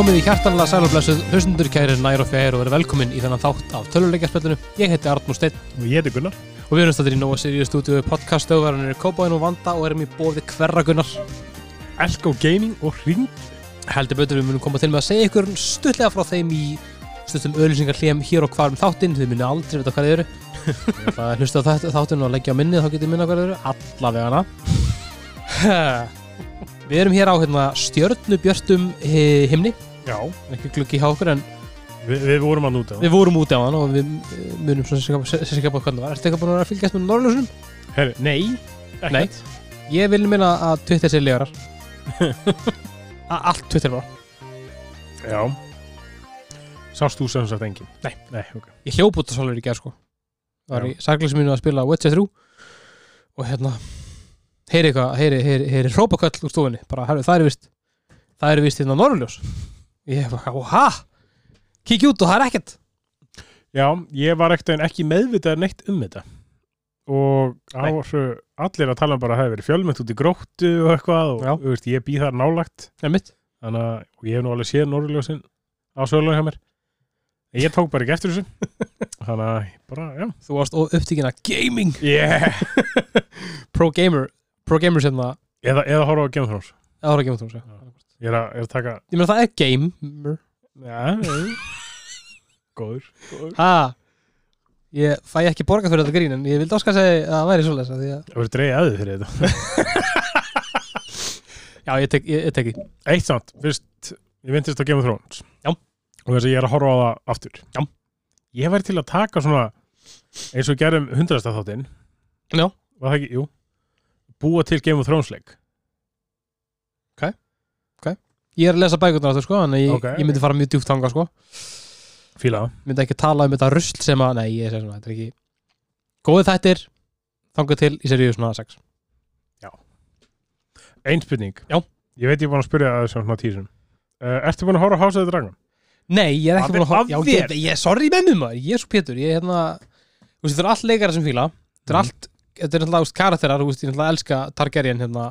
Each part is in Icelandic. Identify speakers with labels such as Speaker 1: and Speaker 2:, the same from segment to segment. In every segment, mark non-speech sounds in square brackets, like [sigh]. Speaker 1: Komið í hjartanlega sælublessuð, hlustundur kærir nær og fjær og verið velkomin í þennan þátt af töluleikjarspillinu. Ég heiti Arnmúr Steinn
Speaker 2: Og ég heiti Gunnar.
Speaker 1: og við erum stættir í Nóa Sirius stúdíu podcast stöðverðanir Kópaðin og Vanda og erum í bóði hverragunnar.
Speaker 2: Elko Gaming og Ring.
Speaker 1: Heldur betur við munum koma til með að segja ykkur stuttlega frá þeim í stuttum öllisingar hljem hér og hvar um þáttinn, þið munið aldrei vita hvað þið eru. Það er hlusta á þetta- þáttinn og leggja á minni þá getið minna hvað þið eru, allavega hana. við erum hér á hérna, stjörnubjörtum eh, himni,
Speaker 2: Já.
Speaker 1: ekki gluggi hjá okkur en
Speaker 2: Vi, við vorum að núta það.
Speaker 1: Við vorum úti á hann og við eh, munum svona sérskapa sérskapa hvernig það var. Ertu eitthvað búin að vera að fylgjast með Norrljósunum?
Speaker 2: Herri, nei. ekkert.
Speaker 1: Nei. Ég vil minna að Twitter sé legarar. að allt Twitter var.
Speaker 2: Já. Sást þú sem sagt engin?
Speaker 1: Nei.
Speaker 2: Nei, ok.
Speaker 1: Ég hljóp út á Solveig í gerð sko. Það var í sarglísi mínu að spila Witcher 3 og hérna heyri eitthvað, heyri, heyri, heyri hrópakall úr stofinni. Bara, herri, það er vist það er vist hérna Norrljós. Ég bara, óha, kíkja út og það er ekkert.
Speaker 2: Já, ég var ekkert en ekki meðvitað neitt um þetta. Og
Speaker 1: Nei.
Speaker 2: áhru, allir að tala um bara að það hefur verið fjölmynd út í gróttu og eitthvað og
Speaker 1: Já.
Speaker 2: þú veist, ég býð þar nálagt.
Speaker 1: Nei, mitt.
Speaker 2: Þannig að og ég hef nú alveg séð Norrljósin á sölunum hjá mér. En Ég tók bara ekki eftir þessu. Þannig að ég bara, já.
Speaker 1: Þú varst upptíkina gaming,
Speaker 2: Yeah.
Speaker 1: pro gamer, pro hérna, gamer sem það,
Speaker 2: Eða, eða horfa á Game of Thrones.
Speaker 1: það var að gema þú segja.
Speaker 2: Ég er að, ég er að taka
Speaker 1: Ég meina það er gamer.
Speaker 2: Já, góður, góður.
Speaker 1: Ha, ég fæ ekki borgað fyrir þetta grín en ég vildi áskar segja að það væri svoleiðis af því að,
Speaker 2: Það voru dreigið aðið fyrir þetta.
Speaker 1: já, ég tek, ég, ég tek því
Speaker 2: Eitt samt, fyrst, ég vindist á Game of Thrones.
Speaker 1: Já.
Speaker 2: Og þess að ég er að horfa á það aftur.
Speaker 1: Já.
Speaker 2: Ég væri til að taka svona, eins og við gerum hundrasta þáttinn.
Speaker 1: Já.
Speaker 2: Var það ekki, jú. Búa til Game of Thrones leik.
Speaker 1: ég er að lesa bækurnar áttu sko þannig að ég,
Speaker 2: Ok,
Speaker 1: ég myndi fara mjög djúpt þangað sko
Speaker 2: Fíla það.
Speaker 1: myndi ekki tala um þetta rusl sem að nei, ég segja svona, þetta er ekki góði þættir, þangað til í seríu svona 6
Speaker 2: Einn spurning.
Speaker 1: Já.
Speaker 2: Ég veit ég er búin að spyrja það sem svona tísum. Uh, ertu búin að horfa á House of the Dragon?
Speaker 1: nei, ég er
Speaker 2: Af
Speaker 1: ekki búin að
Speaker 2: þér-
Speaker 1: horfa-
Speaker 2: af
Speaker 1: já, ég,
Speaker 2: þér?
Speaker 1: ég, ég, sorry með mér maður, ég er svo pétur ég er hérna, þú veist, þetta er allt leikara sem fíla þetta er
Speaker 2: Mhm.
Speaker 1: allt, þetta er náttúrulega þú veist, karakterar, þú veist, ég náttúrulega elska Targaryen hérna,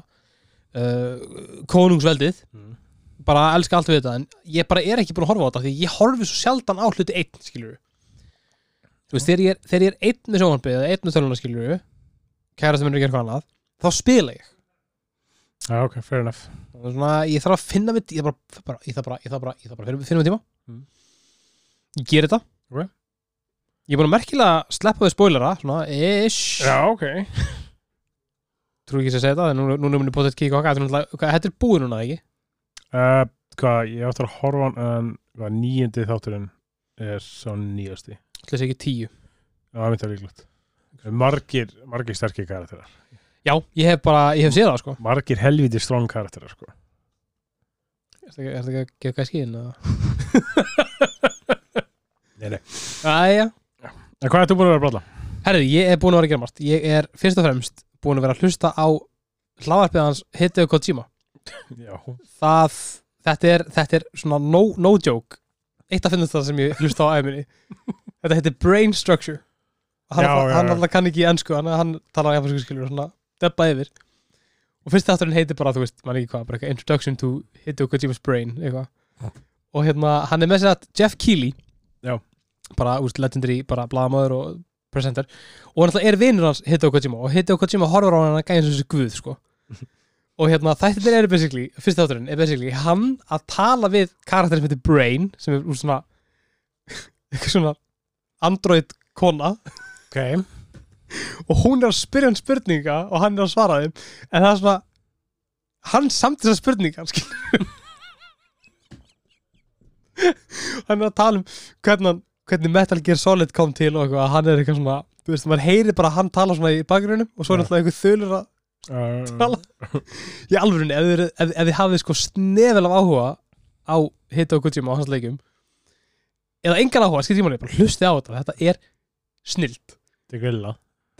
Speaker 1: uh, konungsveldið
Speaker 2: Mm.
Speaker 1: bara elska allt við þetta en ég bara er ekki búin að horfa á þetta því ég horfi svo sjaldan á hluti einn skilur þú veist þegar ég er, þegar ég er einn með sjónvarpið eða einn með töluna skilur kæra sem er að gera eitthvað annað þá spila ég
Speaker 2: Já, ok, fair enough.
Speaker 1: Þannig að svona, ég þarf að finna mitt ég þarf bara, bara, ég þarf bara, ég þarf bara, ég þarf bara finna, finna mig tíma
Speaker 2: Mm.
Speaker 1: ég ger þetta
Speaker 2: Ok.
Speaker 1: ég er búin að merkilega sleppa við spoilera svona ish
Speaker 2: Já, ok.
Speaker 1: trú ekki að segja þetta en nú, nú er minni potið kíka okkar þetta er náttúrulega- hvað- þetta er búið núna ekki
Speaker 2: Uh, hvað, ég áttur að horfa á hann, um, nýjandi þátturinn er svo nýjasti.
Speaker 1: ætli sé ekki tíu
Speaker 2: Já, það myndi að líklegt. Margir, margir sterkir karakterar.
Speaker 1: já ég hef bara ég hef séð það sko
Speaker 2: Margir helviti strong karakterar, sko.
Speaker 1: er þetta ekki að gefa hvað skýðin eða
Speaker 2: Nei, nei.
Speaker 1: Æja,
Speaker 2: En hvað ertu búin að vera að blalla?
Speaker 1: herri, ég er búin að vera að gera margt Ég er fyrst og fremst búin að vera að hlusta á hlaðarpið hans Hideo Kojima
Speaker 2: Já.
Speaker 1: Það, þetta er, þetta er svona no, no joke Eitt að finnast það sem ég hlusta á æminni Þetta heitir Brain Structure Hann,
Speaker 2: Já,
Speaker 1: alltaf,
Speaker 2: já,
Speaker 1: hann
Speaker 2: já.
Speaker 1: alltaf kann ekki í ennsku Hann, hann talar á japansku skilur og svona Debba yfir Og fyrst þátturinn heitir bara, þú veist, maður ekki hvað bara eitthvað Introduction to Hideo Kojima's Brain eitthvað Og hérna, hann er með sér að Jeff Keighley
Speaker 2: Já.
Speaker 1: Bara, úrst, legendary, bara blaðamaður og presenter og hann alltaf er vinur hans Hideo Kojima og Hideo Kojima horfur á hann að gæja eins og þessi guð sko. og hérna þættirnir eru basically fyrst þátturinn er basically hann að tala við karakterinn sem heitir Brain sem er úr svona [laughs] eitthvað svona android kona
Speaker 2: Ok.
Speaker 1: og hún er að spyrja hann spurninga og hann er að svara þeim en það er svona hann samt þessar spurningar skilurðu. [laughs] hann er að tala um hvernig, hann, hvernig Metal Gear Solid kom til og eitthvað, hann er eitthvað svona þú veist, maður heyri bara hann tala svona í bakgrunum og svo er
Speaker 2: Já.
Speaker 1: alltaf eitthvað þölur að
Speaker 2: Uh,
Speaker 1: tala í alvörunni, ef þið, eru- ef, ef þið hafið sko snefel af áhuga á Hideo Kojima og hans leikum eða engan áhuga, skilt ég manni, bara hlustið á þetta þetta er snilt
Speaker 2: þið grilla.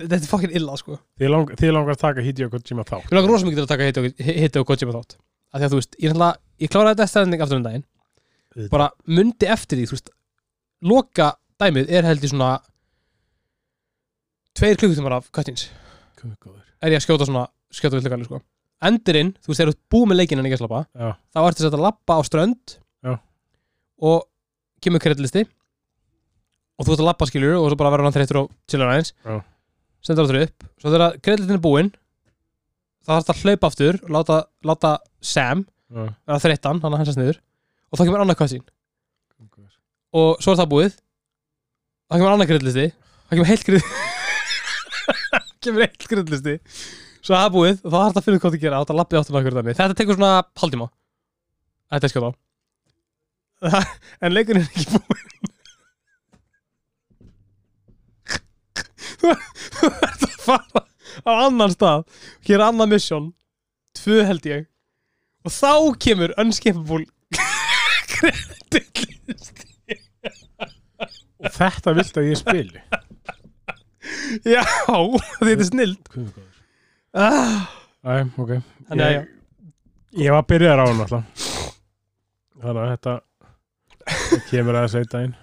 Speaker 1: þetta er fokkin illa sko
Speaker 2: Þið, lang, þið langar að taka Hideo Kojima þá.
Speaker 1: Mér langar rosa mikið til að taka Hideo- Hideo Kojima þátt af því að þú veist, ég, ætla, ég kláraði þetta stending aftur um daginn
Speaker 2: Auðvitað.
Speaker 1: bara mundi eftir því, þú veist loka dæmið er held í svona tveir klukkutímar af cuttins
Speaker 2: Guð góður.
Speaker 1: er ég að skjóta svona, skjóta viltu kalli sko endurinn, þú veist, þegar þú ert búið með leikinn en ekki að slappa
Speaker 2: Já.
Speaker 1: þá ertu sett að lappa á strönd
Speaker 2: Já.
Speaker 1: og kemur kreddlisti og þú ert að labba skiljur og svo bara verður hann þreyttur og chillar aðeins
Speaker 2: Já.
Speaker 1: sendur áttur upp, svo þegar kreddlistin er búinn þá þarf það að hlaupa aftur og láta, láta Sam
Speaker 2: Já.
Speaker 1: vera þreyttan, hann að hansast niður og þá kemur annað kvassin og svo er það búið þá kemur annað kreddlisti þá kemur heilt kreddlisti [laughs] kemur heilt kreddlisti svo er það búið og þá þarf það að finna út hvað það gera þá þarf að labbið áttum að hverja dæmi þetta tekur svona haldíma þetta er skjóð á [laughs] en leikurinn er ekki búinn [laughs] þú þú ert að fara á annan stað hér er annað mission tvö held ég og þá kemur unskippable [laughs] kreddlisti
Speaker 2: Og þetta vilt að ég spili
Speaker 1: Já, þetta er snild
Speaker 2: Guð góður.
Speaker 1: ah,
Speaker 2: Æ, ok
Speaker 1: Þannig að já.
Speaker 2: ég, ég var byrjar á hann alltaf Þannig að þetta það kemur að þessu einn daginn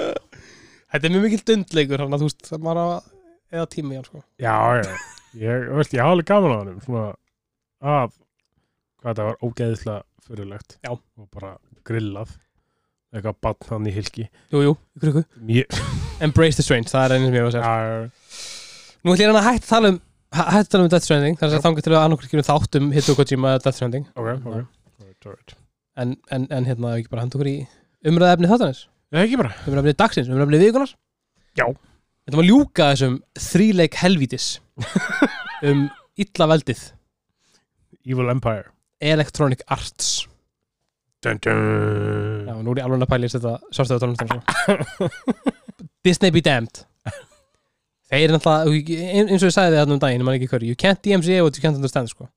Speaker 1: Þetta er mjög mikill dundleikur hann að þú veist það maður á að eða tími hann sko
Speaker 2: Já, já, ég, þú veist, ég hafa alveg gaman á hann svona af hvað þetta var ógeðislega fyrirlegt
Speaker 1: Já.
Speaker 2: og bara grillað eitthvað bann hann í hilki
Speaker 1: Jú, jú, ykkur ykkur
Speaker 2: Mjög,
Speaker 1: Embrace the strange, það er einu sem ég var að segja
Speaker 2: já,
Speaker 1: Nú ætlum ég hann að hætta að tala um hæ- hætta að tala um Death Stranding þannig að þangar til að annarkur gerum þátt um Hideo Kojima eða Death Stranding
Speaker 2: ok, ok Alright, alright.
Speaker 1: en, en, en hérna, ef ekki bara henda okkur í umræða efni þáttanins
Speaker 2: Það er ekki bara
Speaker 1: umræða efni dagsins, umræða efni vikunar
Speaker 2: Já.
Speaker 1: Þetta maður ljúka þessum þríleik helvítis [laughs] um illa veldið
Speaker 2: Evil Empire
Speaker 1: Electronic Arts
Speaker 2: dun, dun.
Speaker 1: Já, nú er ég alveg að pæla í þetta sjálfstöðu tónlistar sko. Disney be damned Þeir eru náttúrulega, ein- eins og ég sagði þið þarna um daginn, ég man ekki hverju You can't DMCA what you can't understand, sko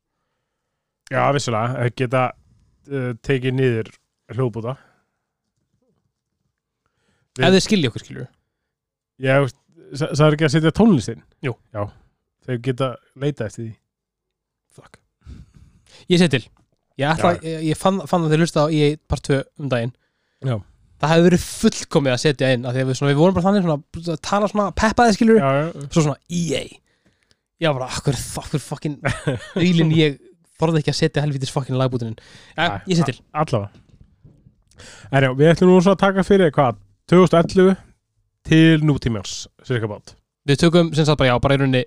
Speaker 2: Já, vissulega, það geta uh, tekið niður hljóðbúta Við-
Speaker 1: Ef þið skilja okkur, skilju
Speaker 2: Já, það er ekki að setja tónlistin
Speaker 1: Jú.
Speaker 2: Já, þau geta leita eftir því
Speaker 1: Fuck Ég segi til Ég, ætla, ég, ég fann, fann að þið lusta á EA part 2 um daginn
Speaker 2: Já.
Speaker 1: Það hefði verið fullkomið að setja inn af því að við, svona, við vorum bara þannig svona, að tala svona peppaði, skilju
Speaker 2: Já, já,
Speaker 1: Svo svona EA Já, bara, akkur, akkur, fucking Ílinn ég þorði ekki að setja helvítis fucking lagbútinin Já,
Speaker 2: Nei,
Speaker 1: ég segi til
Speaker 2: a- Allavega En já, við ætlum nú svo að taka fyrir hvað 2011 til nútímjáls cirka bát
Speaker 1: við tökum sem sagt bara já, bara í rauninni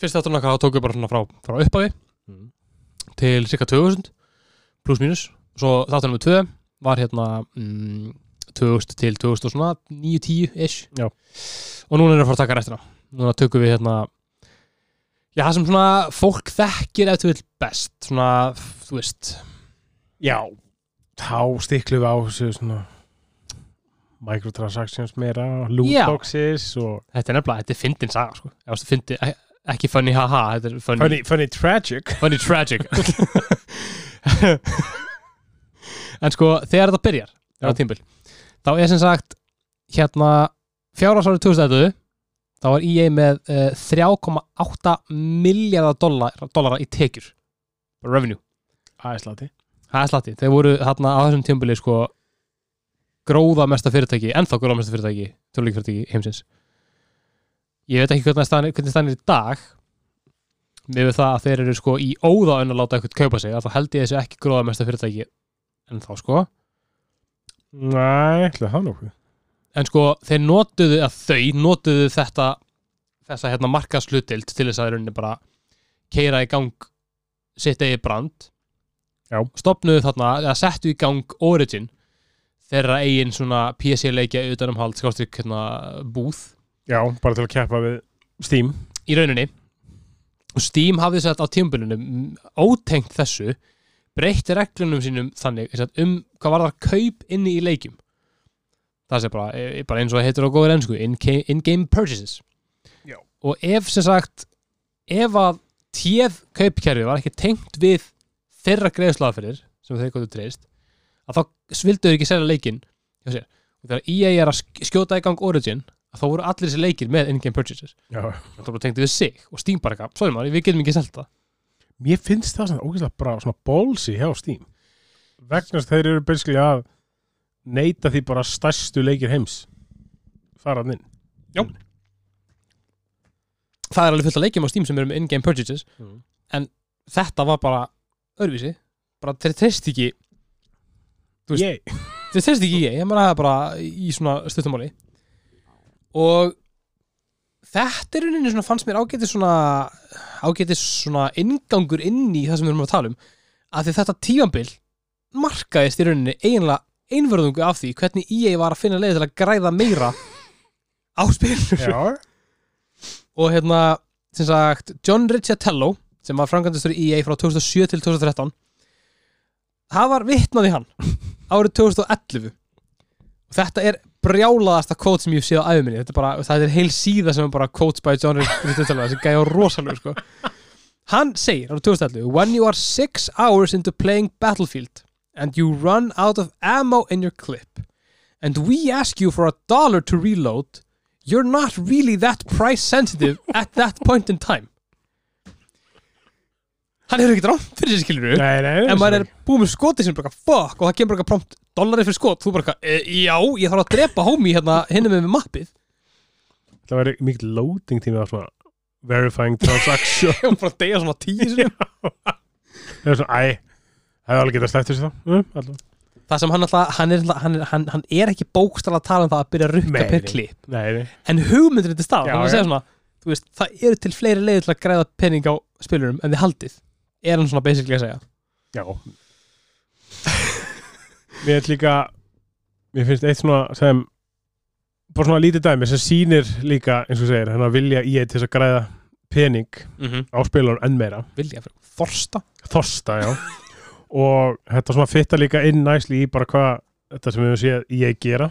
Speaker 1: fyrst þátturinn okkar þá tókum við bara svona frá, frá upphafi
Speaker 2: mm.
Speaker 1: til cirka 2000 pluss mínus, svo þátturinn við 2 var hérna mm, 2000 til 2000 og svona 9-10 ish
Speaker 2: Já.
Speaker 1: og núna erum við að fara að taka restina núna tökum við hérna já, það sem svona fólk þekkir ef þú vil best, svona þú veist,
Speaker 2: Já Þá stiklum við á þessu svona microtransactions meira
Speaker 1: Já.
Speaker 2: lootboxes og
Speaker 1: þetta er nefnilega, þetta er fyndin saga sko, Eða, þú veist, fyndi, ek- ekki funny haha þetta er funny,
Speaker 2: funny, funny tragic
Speaker 1: funny tragic en sko þegar þetta byrjar þegar
Speaker 2: Já.
Speaker 1: tímbil, þá er sem sagt hérna fjárhásárið 2011 þá var EA með uh, 3,8 miljardar dollara, dollara í tekjur Bara revenue,
Speaker 2: Æslati
Speaker 1: það er slatti þeir voru hérna á þessum tímbili sko gróða mesta fyrirtæki, ennþá gróða mesta fyrirtæki tölvík fyrirtæki heimsins ég veit ekki hvernig staðan er- hvernig staðan er í dag með það að þeir eru sko í óða en að láta eitthvað kaupa sig að þá held ég þessu ekki gróða mesta fyrirtæki ennþá sko
Speaker 2: Næ, ætlaði það nokkuð
Speaker 1: en sko þeir notuðu að þau notuðu þetta þessa hérna markaslutild til þess að í rauninni bara keira í gang sitt eigi brand
Speaker 2: Já.
Speaker 1: stopnuðu þarna eða settu í gang Origin þeirra eigin svona PC leikja utanumhald skástrík um hérna búð
Speaker 2: Já, bara til að keppa við Steam
Speaker 1: í rauninni og Steam hafði sett á tímbilunum ótengt þessu breytti reglunum sínum þannig sem sagt, um hvað var það kaup inni í leikjum það sé bara, e- bara eins og það heitir á góður ennsku in-ca- in-game purchases
Speaker 2: Já.
Speaker 1: og ef sem sagt ef að téð kaupkerfi var ekki tengt við þeirra greiðslaðferðir sem þeir gotu treyst að þá vildu þau ekki selja leikinn hjá sér og þegar EA er að sk- skjóta í gang Origin að þá voru allir þessi leikir með in-game purchases
Speaker 2: Já
Speaker 1: það bara tengdi við sig og Steam bara eitthvað, sorry maður, við getum ekki selt það
Speaker 2: Mér finnst það svona ógeðslega bara svona bólsi hjá Steam vegna þess að þeir eru basically að neyta því bara stærstu leikir heims farað inn
Speaker 1: það er alveg fullt af leikjum á Steam sem eru með in-game purchases
Speaker 2: Mm.
Speaker 1: en þetta var bara öðruvísi, bara þeir treyst ekki þú veist-
Speaker 2: Ég,
Speaker 1: Þú veist, þetta er ekki ég, ég meina það er bara í svona stuttumáli og þetta er unni svona fannst mér ágætið svona ágætið svona ingangur inn í það sem við erum að tala um að því þetta tífambil markaðist í rauninni eiginlega einvörðungu af því hvernig ég var að finna leið til að græða meira á spilur
Speaker 2: já,
Speaker 1: og hérna, sem sagt, John Ricciatello sem var framkvæmdastur í EA frá 2007 til 2013 það var vitnað í hann árið 2011 og þetta er brjálaðasta kvót sem ég hef séð á æfuminni, þetta er bara, það er heil síða sem er bara quotes by John Ricciatello sem gæði á rosalegu sko hann segir árið 2011 when you are six hours into playing Battlefield and you run out of ammo in your clip and we ask you for a dollar to reload you're not really that price sensitive at that point in time hann hefur ekkert rámt fyrir þessi skilur
Speaker 2: [laughs] nei, nei
Speaker 1: en maður er búið með skoti sem bara fuck og það kemur bara prompt dollari fyrir skot þú bara e, já, ég þarf að drepa homie hérna hinna með með mappið
Speaker 2: Það væri mikil loading tími á svona verifying [laughs] transaction
Speaker 1: [laughs] ég var bara að deyja svona tíu sinni
Speaker 2: Það er svona, æ, það er alveg getað slætt þessi þá Mm, allavega.
Speaker 1: það sem hann alltaf, hann er, alltaf- hann er, hann, hann er ekki bókstala að tala um það að byrja að rukka
Speaker 2: Nei,
Speaker 1: per
Speaker 2: nei.
Speaker 1: klip
Speaker 2: Nei, nei,
Speaker 1: en hugmyndir þetta stað,
Speaker 2: Já,
Speaker 1: þannig að
Speaker 2: já.
Speaker 1: segja svona þú veist, það eru til fleiri leiðir til að græða penning á spilurum en þið haldið er hann svona basically að segja
Speaker 2: já Mér er líka Mér finnst eitt svona sem bara svona lítið dæmi sem sýnir líka eins og þú segir, hennar vilja í eitt til þess að græða pening
Speaker 1: mm -hmm.
Speaker 2: á spilarum enn meira
Speaker 1: vilja fyrir forsta
Speaker 2: Þorsta, já og þetta svona fitta líka inn næsli í bara hvað þetta sem við höfum séð ég gera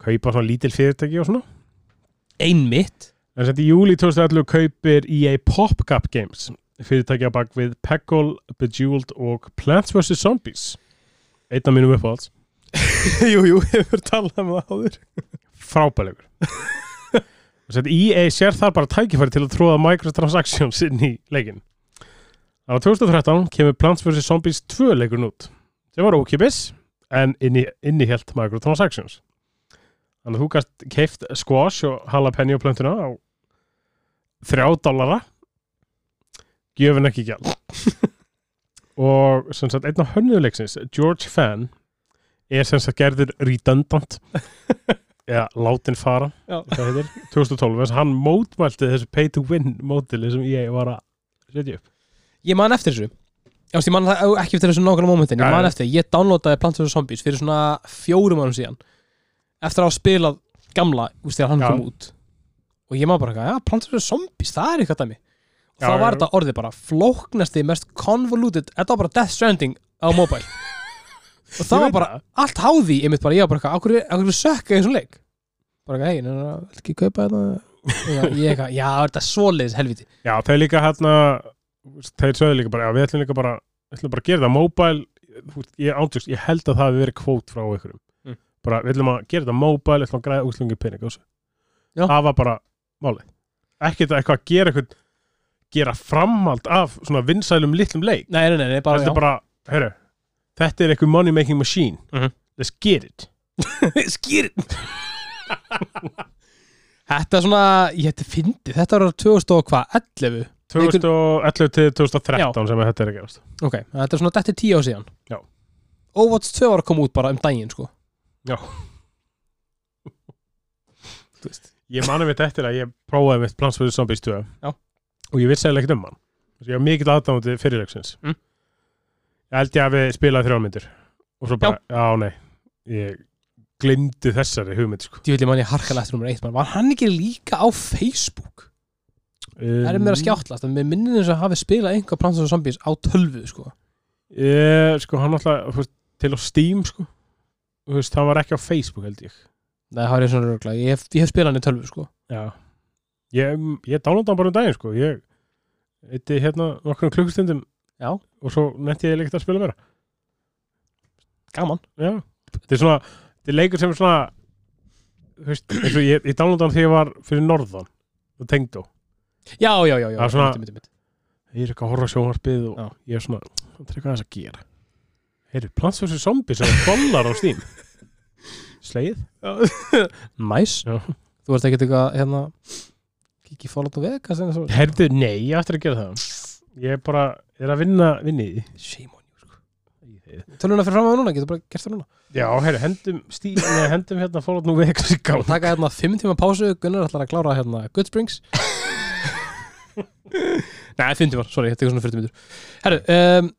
Speaker 2: hvað ég bara svona lítil fyrirtæki og svona
Speaker 1: einmitt
Speaker 2: en þetta í júli 2011 kaupir E EA PopCap Games fyrirtæki á bak við Peggle, Bejeweled og Plants vs. Zombies einn af mínum uppáhalds
Speaker 1: [laughs] jú, jú, hefur talað um það áður
Speaker 2: frábælegur Þetta EA E sér þar bara tækifæri til að tróða microtransactions inn í leikin Á 2013 kemur Plants vs. Zombies 2 leikun út sem var ókipis en inni, innihjælt microtransactions Þannig að þú gast keift squash og jalapeno plöntuna á 3 dollara gjöfin ekki
Speaker 1: [laughs]
Speaker 2: gjald og sem sagt einn af hönnuðleiksins George Fan er sem sagt gerður redundant
Speaker 1: [laughs]
Speaker 2: eða látin fara
Speaker 1: Já.
Speaker 2: hvað heitir, 2012 þess að hann mótmælti þessu pay to win mótili sem ég var að setja upp
Speaker 1: ég man eftir þessu ég, veist, ég man það ekki eftir þessu nákvæmlega momentin ég
Speaker 2: Já,
Speaker 1: man
Speaker 2: já.
Speaker 1: eftir, ég downloadaði Plants vs. Zombies fyrir svona fjórum árum síðan eftir að hafa spilað gamla úst, þegar hann
Speaker 2: Já.
Speaker 1: kom út og ég man bara, eitthvað, já, Plants vs. Zombies, það er eitthvað dæmi og
Speaker 2: Já,
Speaker 1: það var
Speaker 2: já.
Speaker 1: þetta orðið bara flóknasti, mest convoluted þetta var bara Death Stranding á mobile
Speaker 2: [laughs]
Speaker 1: og
Speaker 2: Ég
Speaker 1: það var
Speaker 2: veit
Speaker 1: bara allt háði ég mitt bara, ég var bara, eitthvað, á hverju, á hverju sökka ég svona leik bara, eitthvað, hei, neina, vil ekki kaupa
Speaker 2: [laughs]
Speaker 1: þetta ég eitthvað, já, er þetta svoleiðis helviti
Speaker 2: já, þeir líka hérna þeir sögðu líka bara, já við ætlum líka bara við ætlum bara að gera það mobile þú veist, ég, ántjúst, ég held að það hafi verið kvót frá ykkurum
Speaker 1: Mm.
Speaker 2: bara við ætlum að gera það mobile við ætlum að græða útlungi pening á þessu.
Speaker 1: Já.
Speaker 2: það var bara málið ekki þetta eitthvað að gera eitthvað gera framhald af svona vinsælum litlum leik
Speaker 1: nei, nei, nei, nei, bara,
Speaker 2: þetta er bara, heyrðu þetta er eitthvað money making machine
Speaker 1: Mhm.
Speaker 2: let's get it
Speaker 1: [laughs] skýr Þetta er svona, ég hætti fyndi þetta var 2000 og hvað, 11
Speaker 2: 2011 til 2013 sem að þetta er að gerast
Speaker 1: ok, þetta er svona dætti 10 á síðan
Speaker 2: Já.
Speaker 1: Overwatch 2 var að koma út bara um daginn sko
Speaker 2: Já.
Speaker 1: Þú veist
Speaker 2: ég manum þetta eftir að ég prófaði mitt Plants vs. Zombies 2
Speaker 1: Já.
Speaker 2: og ég vissi eða ekkert um hann Þessi, ég var mikill aðdámandi fyrirleiksins
Speaker 1: Mm.
Speaker 2: ég held ég að við spilaði þrjálmyndir og svo bara, já, nei ég glimdi þessari hugmynd sko.
Speaker 1: Því vil ég manni harkala eftir nummer 1 man. Var hann ekki líka á Facebook?
Speaker 2: um,
Speaker 1: Það er mér að skjáttlast en mér minnir þess að hafi spilað einhver Plants og Zombies á 12 sko
Speaker 2: ég, sko, hann alltaf þú veist, til á Steam sko. Þú veist, hann var ekki á Facebook held ég
Speaker 1: Nei, það er svona röglega, ég hef, ég hef spilað hann í 12 sko
Speaker 2: Já Ég, ég dálanda hann bara um daginn sko Ég eitti hérna nokkrum klukkustundum
Speaker 1: Já.
Speaker 2: Og svo netti ég leikt að spila meira
Speaker 1: Gaman
Speaker 2: Já Þetta er svona Þetta er leikur sem er svona Þú veist eins og Ég, ég dálanda hann þegar ég var fyrir norðan Og tengdó
Speaker 1: Já, já, já, já,
Speaker 2: Það er svona-
Speaker 1: mitt, mitt, mitt.
Speaker 2: Ég er eitthvað að horfa á sjónvarpið Og
Speaker 1: Já.
Speaker 2: ég er svona Það er eitthvað aðeins að gera Heyrðu, plants þessu zombi sem dollar á [laughs] stín Sleið
Speaker 1: Næs
Speaker 2: Já.
Speaker 1: Þú veist ekki eitthvað, hérna Kikki Fallout og Vegas eða svo
Speaker 2: Heyrðu, nei, ég ætti að gera það Ég bara er að vinna, vinni í því
Speaker 1: Shame on you sko.
Speaker 2: Ég lagið
Speaker 1: Töluna fyrir fram á núna, getur bara gert það núna
Speaker 2: Já, herru, hendum stíl Nei, hendum hérna fólat nú vex í gáð
Speaker 1: Taka hérna fimm tíma pásu, Gunnar ætlar að klára hérna Good [laughs] Springs Nei, fimm tímar, sorry, þetta er svona 40 mínútur Herru, um,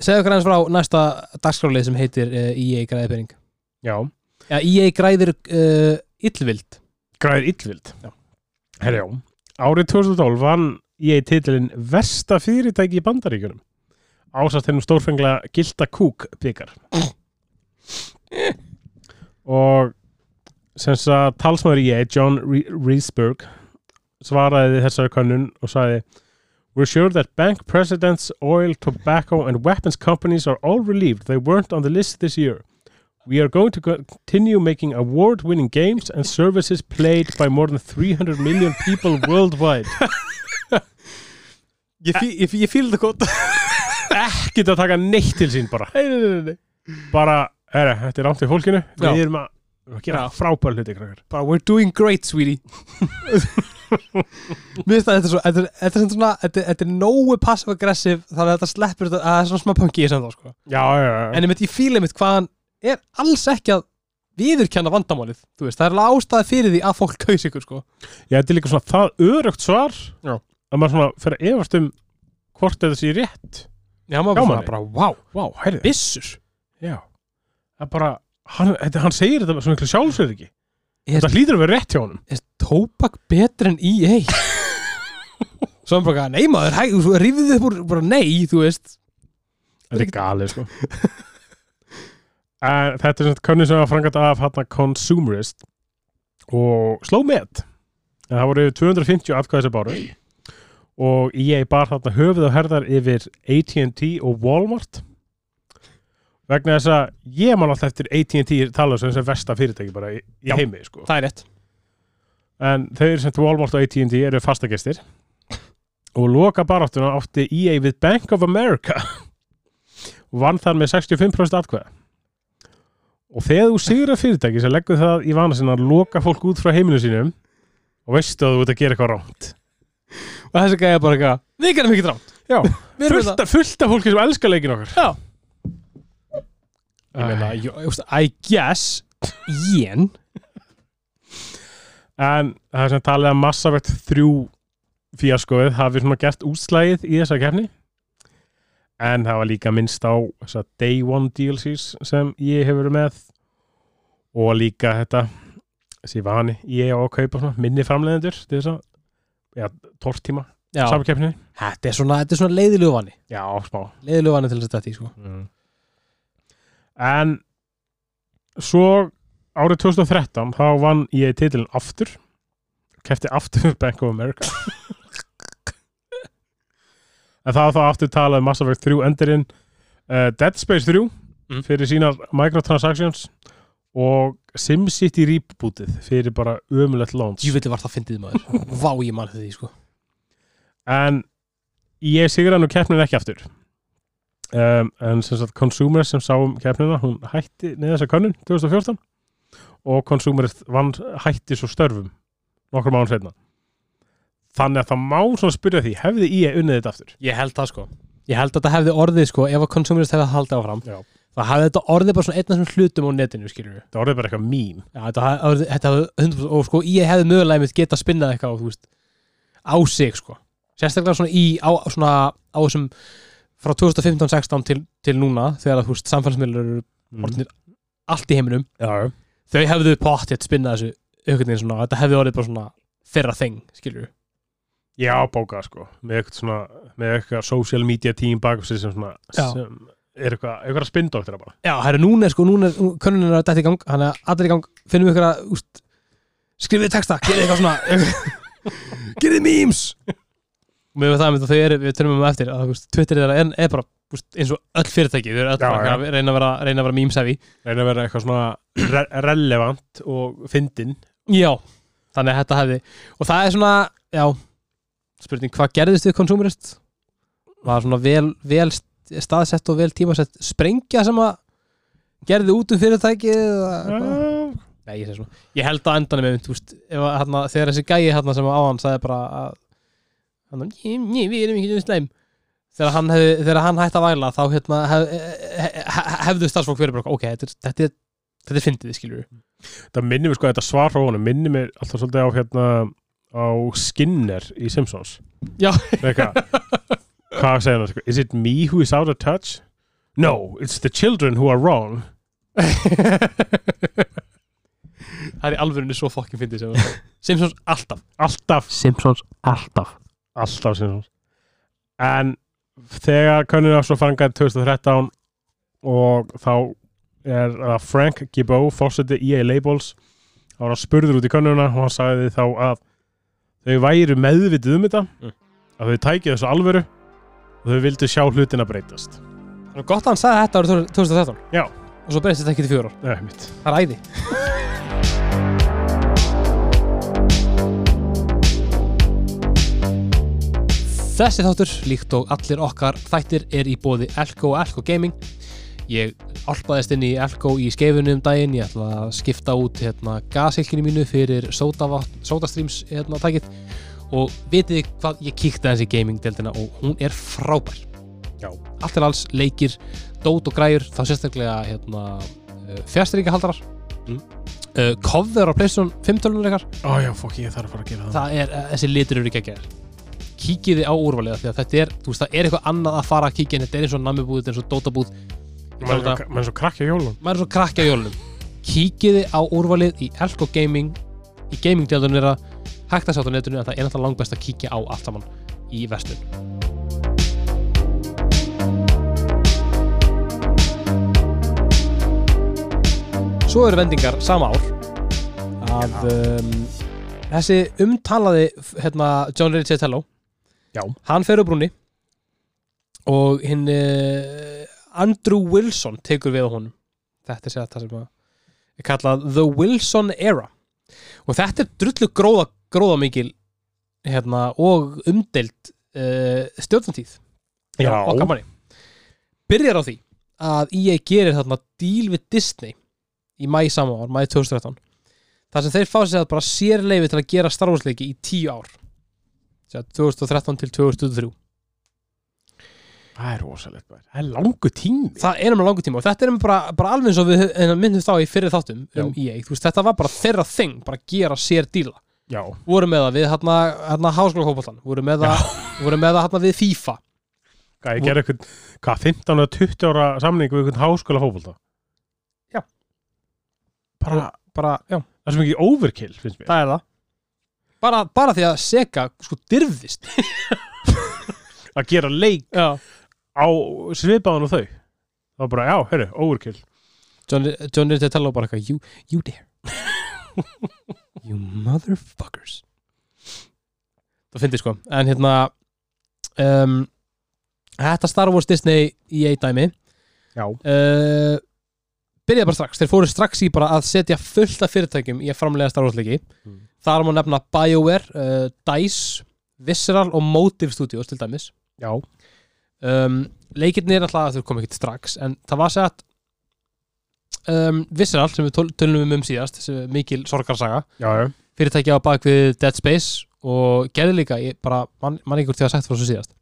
Speaker 1: segðu okkur aðeins frá næsta dagskrálið sem heitir uh, EA græði pening
Speaker 2: Já,
Speaker 1: ja, EA E græðir uh, illvild
Speaker 2: græðir illvild
Speaker 1: Já.
Speaker 2: Herru, já Árið 2012 vann ég titilin Versta fyrirtæki í bandaríkjunum Ásast hennum stórfengla Gilda Kúk byggar Og sem að talsmaður ég, John Re- Reesburg svaraði þessari könnun og sagði We're sure that bank presidents, oil, tobacco and weapons companies are all relieved they weren't on the list this year. We are going to continue making award-winning games and services played by more than 300 million people [laughs] worldwide.
Speaker 1: Ég, fí, ég, fí, ég fíl þetta gott
Speaker 2: Ekki að taka neitt til sín bara.
Speaker 1: Nei, nei, nei, nei
Speaker 2: Bara, herra, þetta er langt í fólkinu. Við
Speaker 1: Já.
Speaker 2: erum að, við erum að gera frábæra hluti, krakkar.
Speaker 1: Bara, we're doing great, sweetie Mér finnst það, þetta er svo Þetta er, þetta er sem svona, þetta er, þetta er nógu passive-aggressive þannig að þetta sleppur þetta að það er svona smá punki í sem þá, sko
Speaker 2: Já, já, já.
Speaker 1: en ég mynd, ég fíla mitt hvað hann er alls ekki að viðurkenna vandamálið, þú veist, það er alveg ástæði fyrir því að fólk kaus ykkur, sko
Speaker 2: Já, þetta er líka svona það örugt svar
Speaker 1: Já.
Speaker 2: að maður svona fer að efast um hvort þetta sé rétt.
Speaker 1: Já, maður
Speaker 2: Já,
Speaker 1: bara,
Speaker 2: maður.
Speaker 1: bara, wow,
Speaker 2: Vá, heyrðu.
Speaker 1: byssur
Speaker 2: Já. Það er bara, hann, þetta, hann segir þetta svona miklu sjálfsögð ekki.
Speaker 1: Er,
Speaker 2: Þetta hlýtur að vera rétt hjá honum.
Speaker 1: er tóbak betri en EA? Svo hann bara, nei maður, hæ, þú rífið upp úr, bara nei, þú veist
Speaker 2: Þetta er galið, sko. en, þetta er svona könnu sem var frangat af hann consumerist og sló með. En það voru 250 atkvæði sem báru og ég bar þarna höfuð og herðar yfir AT&T og Walmart vegna þess að ég man alltaf eftir AT&T tala sem sem versta fyrirtæki bara í, í
Speaker 1: Já.
Speaker 2: heimi sko.
Speaker 1: Það er rétt
Speaker 2: en þeir sem Walmart og AT&T eru fastagestir og loka baráttuna átti EA við Bank of America og vann þar með 65% atkvæða og þegar þú sigra fyrirtæki sem leggur það í vana sinna að loka fólk út frá heiminu sínum og veistu að þú ert að gera eitthvað rámt
Speaker 1: Og þessi gæði bara eitthvað, við gerum ekki drátt
Speaker 2: Já,
Speaker 1: Við erum
Speaker 2: fullt,
Speaker 1: þetta
Speaker 2: af- fullt af fólki sem elskar leikin okkar
Speaker 1: Já.
Speaker 2: Æ.
Speaker 1: Ég meina, jú, þú veist, I guess Jen
Speaker 2: En það er sem talið að massavert þrjú fíaskoðið hafi svona gert útslægið í þessa kefni en það var líka minnst á þessa Day One DLCs sem ég hefur verið með og líka þetta þessi vani ég á að kaupa svona minni framleiðendur til þess að já, tortíma
Speaker 1: Já,
Speaker 2: samkeppni
Speaker 1: þetta er svona, þetta er svona leiðilegu vanni
Speaker 2: Já, smá
Speaker 1: Leiðilegu vanni til þess að þetta í, sko
Speaker 2: En svo árið 2013 þá vann ég titilin aftur kefti aftur Bank of America en það var þá aftur talað um Mass Effect 3 endurinn uh, Dead Space 3
Speaker 1: Mm.
Speaker 2: fyrir sínar microtransactions og SimCity rebootið fyrir bara ömulegt launch
Speaker 1: Júvili var það fyndið [laughs] maður Vá ég mann því sko
Speaker 2: en ég sigra nú keppnin ekki aftur um, en sem sagt Consumerist sem sá um keppnina hún hætti neða þessa könnun 2014 og Consumerist vann, hætti svo störfum nokkur mánu setna þannig að það má svona spyrja því hefði ég unnið þetta aftur
Speaker 1: Ég held það sko Ég held að þetta hefði orðið sko Ef að konsumerist hefði haldið áfram
Speaker 2: Já.
Speaker 1: Það hefði þetta orðið bara svona einn af þessum hlutum á netinu skilur við
Speaker 2: það orðið bara eitthvað mím
Speaker 1: Já, þetta hefði orðið- þetta hefði 100% Og sko ég hefði mögulega mitt geta að spinna eitthvað á, þú veist, á sig sko Sérstaklega svona í á, svona, á þessum frá 2015-16 til, til núna þegar að þú veist samfélagsmiðlur eru orðinir allt í heiminum
Speaker 2: já,
Speaker 1: þau hefðu pottitt spinnað þessu einhvern veginn svona, þetta hefði orðið bara svona þeirra þeng, skilur við
Speaker 2: já bókað sko með eitthvað svona með eitthvað social media team bak sem svona
Speaker 1: Já.
Speaker 2: sem er eitthvað, eitthvað að spindóttir bara
Speaker 1: Já, herru, núna er sko, núna er, könnunin er að dætt í gang hann er allir í gang, finnum ykkur að úst, skrifið texta, gerið eitthvað svona
Speaker 2: [laughs]
Speaker 1: gerið memes Mér veist það að þau eru, við tölum um það eftir að úst, Twitter er, er, er bara úst, eins og öll fyrirtæki, þau eru öll
Speaker 2: Já,
Speaker 1: bara að reyna að vera, reyna að vera memesafi
Speaker 2: reyna að vera eitthvað svona re relevant og fyndin
Speaker 1: Já, þannig að þetta hefði og það er svona, já spurning, hvað gerðist við konsumerist? Var svona vel, vel st- staðsett og vel tímasett sprengja sem að gerði út um fyrirtækið eða eitthvað?
Speaker 2: Mm.
Speaker 1: Nei, ég segi svona Ég held að endanum með, þú veist, ef að, hérna, þegar þessi gæi hérna sem á hann sagði bara að hann, ég, ég, við erum ekki um sleim þegar hann, hef, þegar hann hætti að væla þá hérna, hef, hef, hefðu starfsfólk verið bara ok, þetta er, þetta er, þetta er fyndið skilur
Speaker 2: það minnir mér sko þetta svar frá honum minnir mér alltaf svolítið á hérna á Skinner í Simpsons
Speaker 1: Já.
Speaker 2: Eitthvað. hvað segir hann sko? is it me who is out of touch no, it's the children who are wrong
Speaker 1: [laughs] það er í alvörinu svo fokkin fyndið sem það Simpsons alltaf
Speaker 2: alltaf,
Speaker 1: Simpsons alltaf
Speaker 2: alltaf Simpsons en þegar könnun á svo fangaði 2013 og þá er það Frank Gibbeau fórseti EA Labels þá var hann spurður út í könnuna og hann sagði þá að þau væru meðvitið um þetta
Speaker 1: Mm.
Speaker 2: að þau tækið þessu alvöru og þau vildu sjá hlutina breytast
Speaker 1: Gott að hann sagði þetta árið 2013
Speaker 2: Já.
Speaker 1: Og svo breytist þetta ekki til fjórar
Speaker 2: Nei, mitt.
Speaker 1: Það er æði Þessi þáttur, líkt og allir okkar þættir, er í bóði Elko og Elko Gaming. Ég alpaðist inn í Elko í skeifunni um daginn, ég ætla að skipta út hérna, gasilkinu mínu fyrir sódavatn- sódastreams hérna, tækið og vitið þið hvað ég kíkti aðeins í gaming-deldina og hún er frábær.
Speaker 2: Já.
Speaker 1: Allt er alls leikir, dót og græjur, þá sérstaklega hérna, fjastringahaldarar
Speaker 2: Mm.
Speaker 1: uh, cover á Playstation 5 tölunuleikar
Speaker 2: Ó já, fokk, ég þarf að fara að gera það.
Speaker 1: það er, uh, þessi litur eru ekki að gera kíkiði á úrvalið af því að þetta er, þú veist, það er eitthvað annað að fara að kíkja en þetta er eins og namibúð, þetta er eins og dótabúð
Speaker 2: Menn svo- Menn svo krakki á hjólum.
Speaker 1: maður er svo krakki á jólunum kíkiði á úrvalið í Elko Gaming í gaming-djaldunum er að hægt að sjá þetta á netinu en það er náttúrulega langbest að kíkja á allt saman í vestlun Svo eru vendingar sama ár að um, þessi umtalaði f- hérna, John Riccitello
Speaker 2: Já.
Speaker 1: hann fer á brúni og hinn uh, Andrew Wilson tekur við á honum þetta er sér það sem að er kallað The Wilson Era og þetta er drullu gróða, gróða mikil hérna, og umdeild uh, stjórnantíð
Speaker 2: Já.
Speaker 1: okkar manni byrjar á því að EA gerir þarna díl við Disney í mæ sama ár, mæ 2013 þar sem þeir fá sér að bara sér leifi til að gera Star Wars leiki í tíu ár Sér að 2013 til 2023
Speaker 2: Það er rosalegt. maður. Það er langu tími.
Speaker 1: það er um langu tíma og þetta er um bara, bara alveg eins og við hö- minnum þá í fyrir þáttum um EA, þú veist, þetta var bara þeirra þing bara gera sér díla,
Speaker 2: Já.
Speaker 1: voru með það við hérna, hérna háskóla kópallan, voru með það voru með það hérna við FIFA
Speaker 2: Hvað, ég gerði eitthvað, hvað, 15 eða 20 ára samning við eitthvað háskóla hófbólta?
Speaker 1: Já.
Speaker 2: Bara,
Speaker 1: bara, já,
Speaker 2: það er svo mikið overkill, finnst mér.
Speaker 1: það er það bara, bara því að Sega sko dyrfðist
Speaker 2: Að gera leik
Speaker 1: já.
Speaker 2: á svipaðan og þau. Það var bara, já, herru, overkill.
Speaker 1: John, John er til að tala og bara eitthvað you, you [laughs] dare you motherfuckers það finnir sko en hérna um, þetta Star Wars Disney í eitt dæmi
Speaker 2: Já.
Speaker 1: uh, byrjaði bara strax þeir fóru strax í bara að setja fullt af fyrirtækjum í að framlega starfhóðleiki
Speaker 2: Mm.
Speaker 1: þar má nefna BioWare, uh, DICE Visceral og Motive Studios til dæmis
Speaker 2: Já.
Speaker 1: um, leikirnir alltaf þau kom ekkert strax en það var sett um, Visceral sem við töl- tölum um um síðast sem er mikil sorgarsaga
Speaker 2: Já, já.
Speaker 1: fyrirtæki á bak við Dead Space og gerði líka, ég bara mann man einhver til að sagt frá svo síðast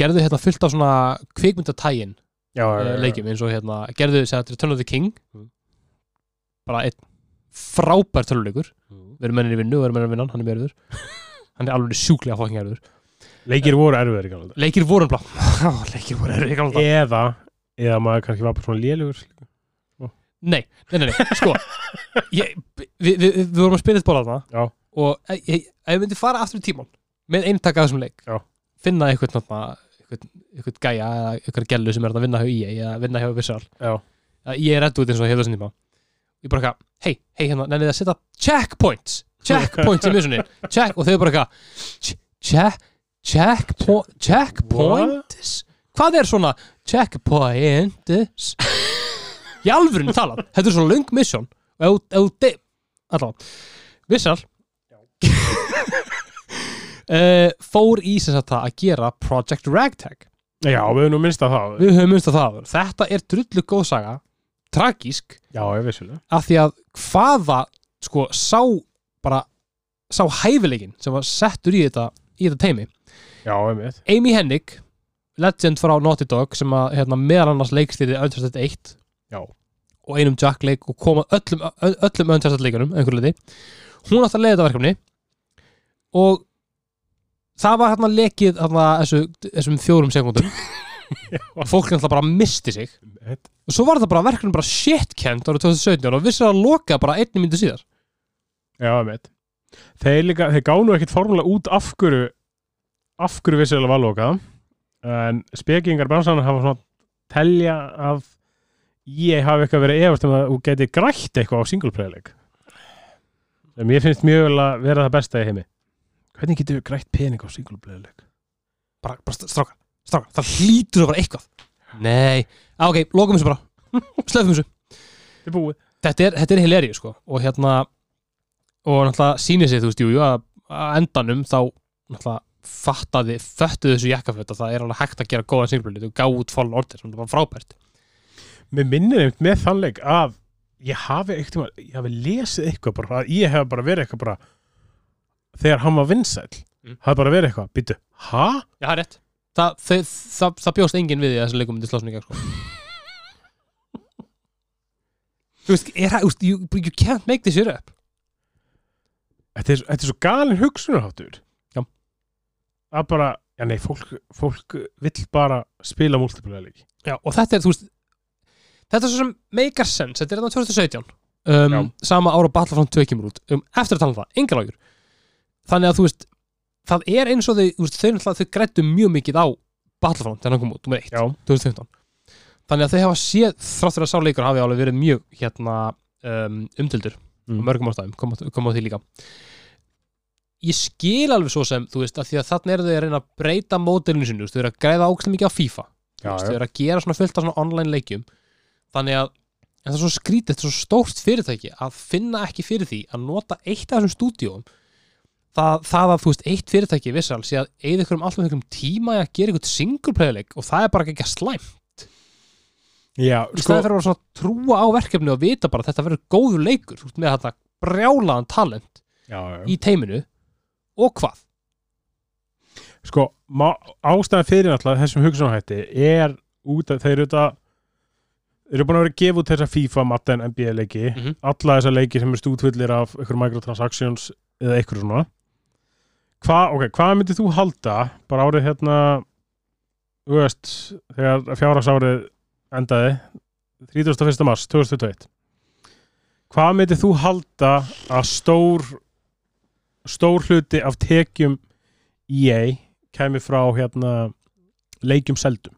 Speaker 1: gerðu hérna fullt af svona kvikmyndatægin
Speaker 2: Já, já,
Speaker 1: uh,
Speaker 2: já.
Speaker 1: leikjum eins og hérna gerðu þess að Return of the King
Speaker 2: Mm.
Speaker 1: bara einn frábær töluleikur
Speaker 2: Mm.
Speaker 1: við erum mennir í vinnu, við erum mennir í vinnan, hann er mérður
Speaker 2: [laughs]
Speaker 1: hann er alveg sjúklega fucking erður
Speaker 2: Leikir voru erfiðir í gamla.
Speaker 1: leikir voru um leikir voru erður í gamla
Speaker 2: daga.
Speaker 1: daga.
Speaker 2: Eða, eða maður kannski var bara svona lélugur.
Speaker 1: nei, nei, nei, nei, sko ég, við, við, við vorum að spila þetta bóla þarna
Speaker 2: Já.
Speaker 1: og ég, ég, ef ég myndi fara aftur í tíman með eintak af þessum leik
Speaker 2: Já.
Speaker 1: finna einhvern, þarna- einhvern, einhvern gæja eða einhvern gellu sem er þarna að vinna hjá EA eða vinna hjá Vissal
Speaker 2: Já.
Speaker 1: að ég er redduð eins og hefur þessum tíma ég bara eitthvað, hei, hei hérna, nennið þið að setja checkpoints, checkpoints í missunni check, og þau bara eitthvað "Ch- check, checkpo checkpoints hvað er svona checkpoints í alvörinu talað, þetta er svona lung mission og ef þú- ef þú de- allavega, vissal [laughs] uh, fór í sem sagt það að gera Project Ragtag
Speaker 2: Já, við höfum nú minnst að það.
Speaker 1: við höfum umst að það áður. þetta er drullu góð saga tragísk
Speaker 2: Já, ég vissulega.
Speaker 1: af því að hvaða sko sá bara sá hæfileikin sem var settur í þetta í þetta teimi
Speaker 2: Já, ég veit.
Speaker 1: Amy Hennig legend frá Naughty Dog sem að hérna, meðal annars leikstýrði Uncharted 1
Speaker 2: Já.
Speaker 1: og einum Jack leik og koma öllum, ö- öllum Uncharted leikunum einhverju leiti hún átti að leiða þetta verkefni og það var hérna lekið hérna, þessu, þessum fjórum sekundum
Speaker 2: [laughs]
Speaker 1: og fólk náttúrulega bara misti sig
Speaker 2: Einmitt.
Speaker 1: og svo var það bara verkefni bara shitkend árið 2017 og vissir að loka bara einni myndu síðar
Speaker 2: Já, einmitt. Þeir, líka, þeir gánu ekkit formulega út af hverju af hverju vissilega var lokað en spekingar bransanar hafa svona telja að ég hafi eitthvað verið efast um að þú geti grætt eitthvað á singleplayleik sem ég finnst mjög vel að vera það besta í heimi Hvernig getur við grætt pening á singleplayleik?
Speaker 1: bara, bara st- strákar, strákar, það hlýtur að vera eitthvað Nei, á, ok, lokum
Speaker 2: [laughs]
Speaker 1: þessu bara Slöfum þessu
Speaker 2: Þetta er búið
Speaker 1: Þetta er, þetta er hilarið, sko Og hérna, og náttúrulega sýnir sig, þú veist, jú, jú að, að endanum þá náttúrulega fattaði, föttuðu þessu jakkaföt að það er alveg hægt að gera góðan singlulit og gá út Fallen Order, sem það var frábært
Speaker 2: Mér minnir einmitt með þannleik að ég hafi eitthvað, ég hafi lesið eitthvað bara, að ég hef bara verið eitthvað bara þegar hann var vinsæll
Speaker 1: Mm.
Speaker 2: hafi bara verið eitthvað, býttu, ha?
Speaker 1: Já, það er rétt Það, það, það, það bjóst enginn við því að þessu leikum myndi slásninga, sko Þú veist, er það, þú veist, you, you can't make this shit up
Speaker 2: Þetta er, þetta er svo galin hugsunarháttur
Speaker 1: Já.
Speaker 2: að bara, já nei, fólk, fólk vill bara spila múltiplega leiki
Speaker 1: Já, og þetta er, þú veist þetta er svo sem meikar sense, þetta er hérna þannig 2017 um, sama ára Battlefront 2 kemur út um, eftir að tala um það, engar ágjur þannig að þú veist, það er eins og þau þú veist, þau, náttúrulega- þau grættu mjög mikið á Battlefront þegar hann kom út, nummer 1, 2015 þannig að þau hafa séð, þrátt fyrir að sá leikur hafi alveg verið mjög hérna um, umtildur,
Speaker 2: Mm.
Speaker 1: mm. mörgum ástæðum kom, á- kom á því líka ég skil alveg svo sem, þú veist, að því að þannig eru þau að reyna að breyta mótilinu sinni, þú veist, þau eru að græða ákslega mikið á FIFA
Speaker 2: Já,
Speaker 1: Þú veist, þau
Speaker 2: já.
Speaker 1: eru að gera svona fullt af svona online leikjum þannig að en það er svo skrítið, þetta er svo stórt fyrirtæki að finna ekki fyrir því að nota eitt af þessum stúdíum það, það að þú veist, eitt fyrirtæki vissal sé að eigið ykkur um alltaf ykkur tíma í að gera ykkur singleplayleik og það er bara ekki að slæm
Speaker 2: Já,
Speaker 1: í
Speaker 2: sko,
Speaker 1: staðið fyrir að vera svona að trúa á verkefni og vita bara að þetta verður góður leikur þú veist, með þetta brjálaðan talent
Speaker 2: já, já.
Speaker 1: í teiminu og hvað
Speaker 2: sko má- ástæðan fyrir náttúrulega þessum hugsunarhætti er út að þeir eru þetta þeir eru búin að vera að gefa út þessa FIFA, Madden, NBA leiki
Speaker 1: Mhm.
Speaker 2: alla þessa leiki sem er stútvillir af ykkur microtransactions eða ykkur svona Hva, ok, hvað myndir þú halda bara árið hérna þú veist, þegar fjárhagsárið endaði 31. mars 2021 hvað myndir þú halda að stór stór hluti af tekjum EA kæmi frá hérna leikjum seldum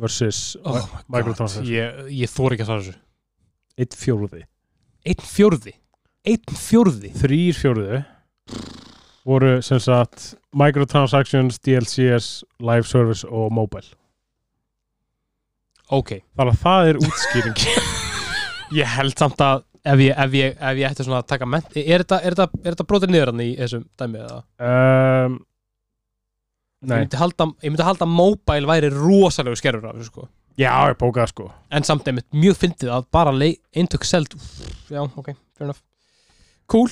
Speaker 2: versus oh,
Speaker 1: my
Speaker 2: Microtransactions.
Speaker 1: ég, ég þór ekki að svara þessu
Speaker 2: eitt fjóruði
Speaker 1: einn fjórði, einn fjórði
Speaker 2: þrýr fjóruði voru sem sagt microtransactions, DLCs, live service og mobile
Speaker 1: ok,
Speaker 2: þannig að það er [laughs] útskýring
Speaker 1: Ég held samt að ef ég, ef ég, ef ég ætti svona að taka ment er þetta, er þetta, er þetta brotið niður hann í þessum dæmi eða?
Speaker 2: um,
Speaker 1: Ég
Speaker 2: nei,
Speaker 1: myndi halda, ég myndi halda að mobile væri rosalegu skerfur af þessu sko
Speaker 2: já ég bókaði sko
Speaker 1: en samt einmitt mjög fyndið að bara lei- eintök seld Úff, já, ok, fair enough cool,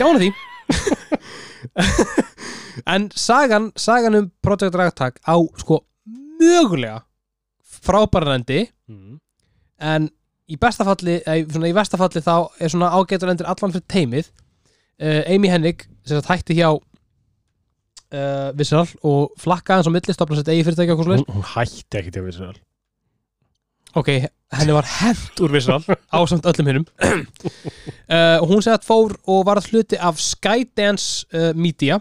Speaker 1: gána því [laughs] en sagan sagan um Project Ragtag á sko mögulega frábærandi
Speaker 2: mm.
Speaker 1: en í besta falli, eh, svona í versta falli þá er svona ágætur endur allan fyrir teimið uh, Amy Hennig sem sagt hætti hjá uh, Vissal og flakkaði hans á milli stopna sett eigi fyrirtæki og hvað
Speaker 2: hún,
Speaker 1: svoleiðis.
Speaker 2: hún hætti ekki til að vissi
Speaker 1: ok, henni var hent úr Vissal ásamt öllum hinnum uh, og hún sem sagt fór og varð hluti af Skydance uh, Media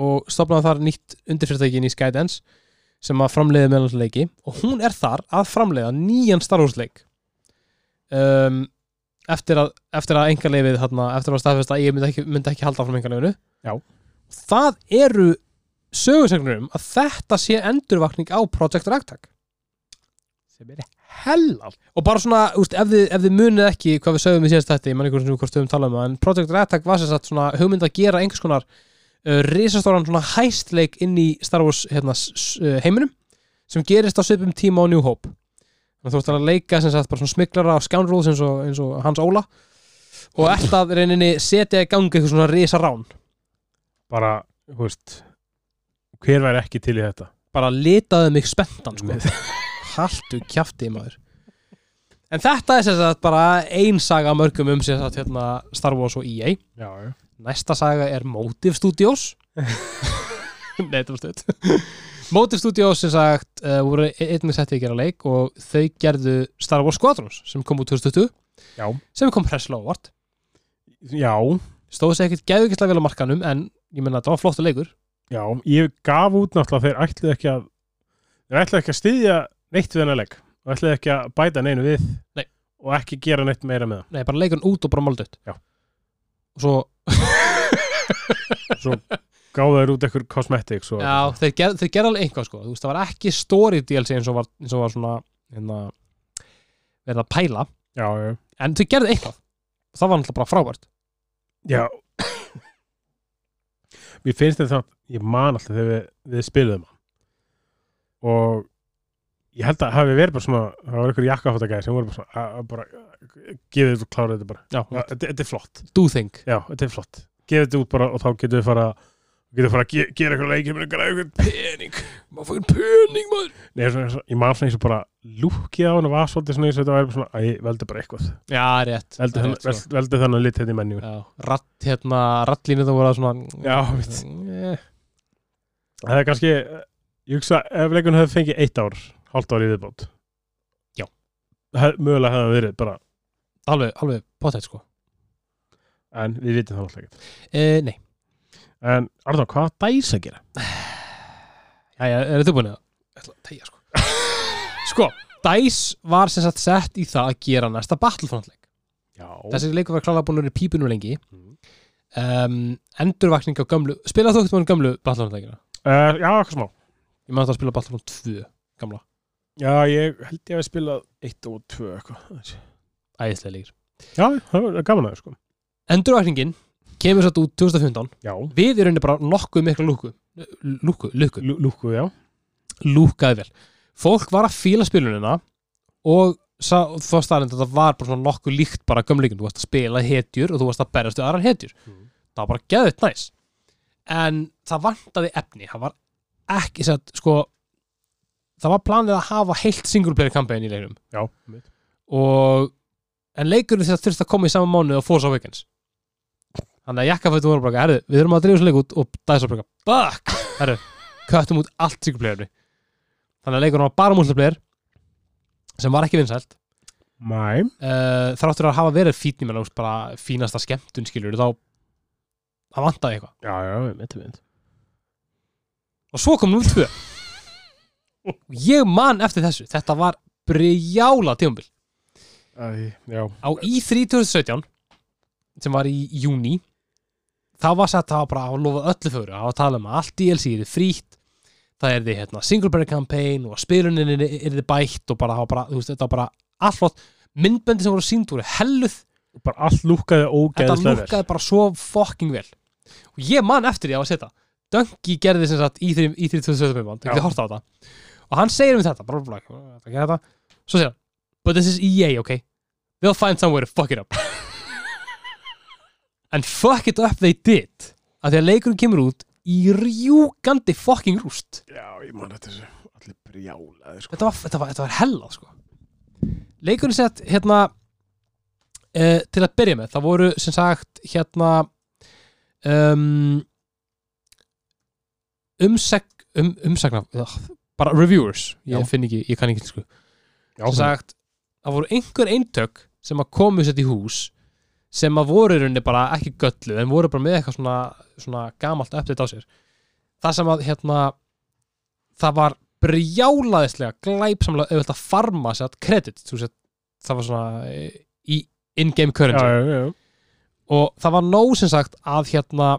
Speaker 1: og stopnaði þar nýtt undirfyrirtækin í Skydance sem að framleiði meðlansleiki og hún er þar að framleiða nýjan Star Wars leik um, eftir að, eftir að engarleifið þarna, eftir að staðfesta að ég myndi ekki, myndi ekki halda frá engarleifinu
Speaker 2: Já.
Speaker 1: það eru sögursegnur um að þetta sé endurvakning á Project Ragtag sem er hellal og bara svona, úst, ef, þið, ef þið munið ekki hvað við sögum í síðast þetta, ég man ekki hvort stöðum tala um það en Project Ragtag var sér satt svona hugmynd að gera einhvers konar uh, risastóran svona hæstleik inn í Star Wars hérna, s- s- uh, heiminum sem gerist á svipum tíma á New Hope þannig að þú ert að leika sem sagt bara svona smiklara og scoundrels eins og, eins og Hans Óla og ert að reyninni setja í gangi eitthvað svona risa rán
Speaker 2: bara, hú veist hver væri ekki til í þetta
Speaker 1: bara litaði mig spenntan sko. [laughs] haltu kjafti maður en þetta er sem sagt bara ein saga af mörgum um sem sagt hérna Star Wars og EA
Speaker 2: Já, já.
Speaker 1: næsta saga er Motive Studios [laughs] nei, þetta var stöð [laughs] Motive Studios sem sagt uh, voru einnig settið að gera leik og þau gerðu Star Wars Squadrons sem kom út 2020
Speaker 2: Já.
Speaker 1: sem kom presslega á óvart
Speaker 2: Já,
Speaker 1: stóðu sig ekkert geðvikislega vel á markanum en ég menna þetta var flottu leikur
Speaker 2: já. Ég gaf út náttúrulega þeir ætluðu ekki að þeir ætluðu ekki að styðja neitt við hennar legg og ætluðu ekki að bæta neinu við
Speaker 1: Nei.
Speaker 2: og ekki gera neitt meira með
Speaker 1: nei, bara leikurinn út og bara máldött
Speaker 2: Já.
Speaker 1: og svo,
Speaker 2: það Svo gáðu þeir út ekkur cosmetics og
Speaker 1: já, þeir, ger, þeir gerðu alveg einhvað sko, þú veist, það var ekki story DLC eins og var, eins og var svona hérna, verið að pæla
Speaker 2: já, já.
Speaker 1: en þau gerðu eitthvað það var náttúrulega bara frábært
Speaker 2: Já Mér finnst þetta samt Ég man alltaf þegar við, við spiluðum hann Og Ég held að hafi verið bara svona Það var einhver jakkafótagæði sem voru bara svona að- að bara, að Gefið þetta og klára þetta bara
Speaker 1: já,
Speaker 2: Já, Þetta þetta er flott,
Speaker 1: do think
Speaker 2: já, þetta er flott Gefið þetta út bara og þá getum við fara Getum við fara að ge- gera eitthvað leikir Með einhverja einhvern pening
Speaker 1: maður fyrir pöning maður
Speaker 2: Nei, svona, svona, Ég man svona eins og bara lúkið á hann Og var svolítið svona eins og þetta væri bara svona Æ, veldu bara eitthvað
Speaker 1: já, rétt,
Speaker 2: Veldu
Speaker 1: rétt, sko.
Speaker 2: þannig- Veldu þannig að lítið þetta í menningu
Speaker 1: já, ratt, hérna, rattlínu það voru að svona Eh.
Speaker 2: Já, mitt Það er kannski, ég hugsa ef leikun hefði fengið eitt ár, hálft ár í viðbót
Speaker 1: Já.
Speaker 2: hef, Mögulega hefði það verið bara,
Speaker 1: alveg, alveg potætt sko
Speaker 2: en við vitum það alltaf ekkert
Speaker 1: e, nei,
Speaker 2: En Arnó, hvað á dæs að gera?
Speaker 1: já, já, er þetta búin að Ég ætla að tegja sko
Speaker 2: [laughs]
Speaker 1: Sko, DICE var sem sagt sett í það að gera næsta Battlefront-leik.
Speaker 2: Já
Speaker 1: Þessi leikur var klálega búin að vera í pípunum lengi.
Speaker 2: Mhm.
Speaker 1: Um, endurvakning á gömlu, spila þú ekkert mann gömlu Battlefront-leikina?
Speaker 2: uh, Já, hvað smá
Speaker 1: Ég maður það að spila Battlefront 2 gamla,
Speaker 2: Já, ég held ég að spila eitt og tvö eitthvað
Speaker 1: æðislega leikir.
Speaker 2: Já, það var gaman aðeins sko
Speaker 1: Endurvakningin kemur satt út 2015.
Speaker 2: Já,
Speaker 1: Við erum bara nokkuð mikla lúku. Lúku, lúku,
Speaker 2: Lú- lúku, já
Speaker 1: lúkaði vel. Fólk var að fíla spilunina og sá, þá staðarinn þetta var bara svona nokkuð líkt bara gömleikum. Þú varst að spila hetjur og þú varst að berjast við aðrar hetjur. það var bara geðvitt næs en það vantaði efni það var ekki satt, sko, það var planið að hafa heilt single player campaign í leikum
Speaker 2: Já, mitt.
Speaker 1: og en leikurinn þess að þurfti að koma í sama mánuð og Force Awakens þannig að jakkafættu voru bara herðu, við þurfum að dreifu svo leik út og dæsa bara bakk, herðu, köttum út allt single player þannig að leikurinn var bara múltiplayer sem var ekki vinsælt
Speaker 2: Mæ,
Speaker 1: uh, þráttur að hafa verið fínni með náttúrulega bara fínasta skemmtun skilur þá það vantaði eitthvað
Speaker 2: já, já, mitt, mitt
Speaker 1: og svo kom nummer 2 og ég man eftir þessu þetta var brjála tímabil
Speaker 2: Æ, já,
Speaker 1: á E3 2017 sem var í júni það var sett að bara að lofa öllu fyrir það var að tala um að allt DLC er frítt það er því hérna single player campaign og spilunin er þið bætt og bara, það var bara, þú veist, þetta var bara allt flott myndböndi sem voru sínd úr helluð
Speaker 2: bara allt lúkaði
Speaker 1: þetta
Speaker 2: ógeðslega vel.
Speaker 1: lúkkaði bara svo fucking vel og ég man eftir því að setja Dungy gerði sem sagt í þrjum í þrjum 2017
Speaker 2: Já.
Speaker 1: ég horta á þetta og hann segir um þetta bara bla, bla, bla, bla, bla, svo segir hann but this is EA ok they'll find somewhere to fuck it
Speaker 2: [laughs]
Speaker 1: up and fuck it up they did að því að leikurinn kemur út í rjúkandi fucking rúst
Speaker 2: Já, ég man þetta þessu Allir brjálaði sko
Speaker 1: þetta var, þetta var, þetta var hella sko. leikurinn sett hérna uh, til að byrja með það voru sem sagt hérna um, umseg, um, umsegna bara reviewers, ég
Speaker 2: Já.
Speaker 1: finn ekki ég kann ekki sko. íslensku.
Speaker 2: Já,
Speaker 1: sem sagt, það voru einhver eintök sem að komu sér í hús sem að voru í rauninni bara ekki göllu en voru bara með eitthvað svona, svona gamalt uppdætt á sér það sem að hérna það var brjálaðislega glæpsamlega auðvitað að farma sér kredit það var svona eh, í in-game
Speaker 2: já,
Speaker 1: currency
Speaker 2: já, já,
Speaker 1: og það var nóg sem sagt að hérna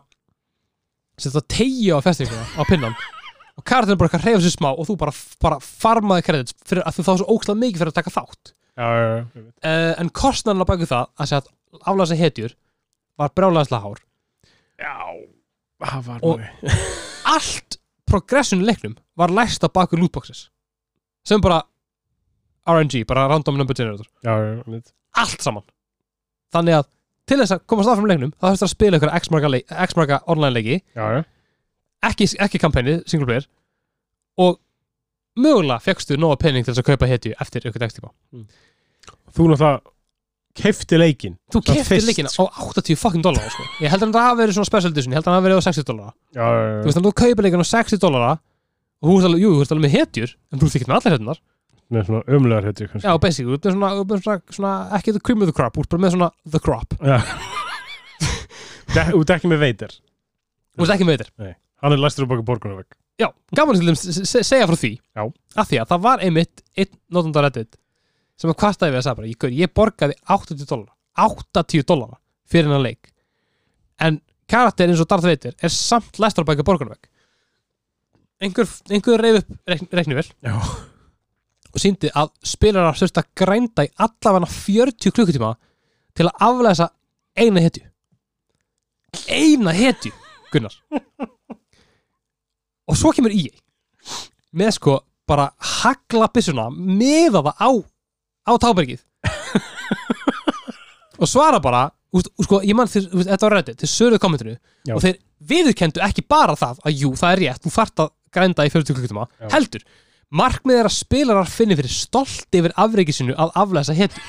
Speaker 1: sem þetta tegja á festinguna á pinnan og kartinu bara eitthvað reyfa sér smá og þú bara, bara farmaði kredits fyrir að þú þá svo ókslega mikið fyrir að taka þátt
Speaker 2: já, já, já, já.
Speaker 1: uh, en kostnarnar baku það að segja að aflæsa hetjur var brjálæðislega hár
Speaker 2: Já, það var
Speaker 1: Og-
Speaker 2: nú
Speaker 1: allt progression í leiknum var læst að baku lootboxes sem bara RNG, bara random number generator
Speaker 2: Já, já, mitt
Speaker 1: allt saman þannig að til þess að komast áfram í leiknum þá þurftur að spila ykkur X marga, leik, X marga online leiki
Speaker 2: Já, já,
Speaker 1: ekki, ekki kampænið, single player og mögulega fegstu nóga pening til þess að kaupa hetju eftir ykkur dagstíma
Speaker 2: Þú náttúrulega kefti leikinn
Speaker 1: þú
Speaker 2: Samt
Speaker 1: keftir
Speaker 2: fyrst,
Speaker 1: leikina á 80 fucking dólar sko. ég held að hann hafi verið svona special edition ég held að hann hafi verið á 60 dólar
Speaker 2: Já, já, já.
Speaker 1: þú veist að þú kaupir leikina á 60 dólar og þú ert alveg, jú, þú ert alveg með hetjur en þú ert ekki með allar hetjunar
Speaker 2: með svona umlegar hetjur kannski
Speaker 1: já, basic, þú ert með svona, þú ert með svona, svona ekki the cream of the crop, þú ert bara með svona the crop
Speaker 2: De- Þú ert ekki með veitir
Speaker 1: þú ert ekki með þetta
Speaker 2: Hann er læstur upp okkur borgunum vekk
Speaker 1: já, gaman að til þeim se- se- segja frá því
Speaker 2: Já.
Speaker 1: af því að það var einmitt einn notundar reddit sem að kvastaði við að sagði bara ég, gaur, ég borgaði 80 dólar 80 dólar fyrir hennar leik en karakter eins og Darth Vader er samt læstrarbækja borgarvegg einhver, einhver reyf upp reikn, reiknivel
Speaker 2: Já.
Speaker 1: og síndi að spilarar þurfti að grænda í allavega 40 klukkutíma til að aflæsa eina hetju eina hetju Gunnar og svo kemur í með sko bara hagla byssuna meða það á á tábergið og svara bara úst, sko, ég man þeir, úst, þetta var reddit, þeir söluðu kommentinu
Speaker 2: Já.
Speaker 1: og þeir viðurkendu ekki bara það að jú, það er rétt, þú þart að grænda í 40 klukkutuma,
Speaker 2: Já.
Speaker 1: heldur markmið er að spilarar finni fyrir stolt yfir afreikisinu að aflæsa hettu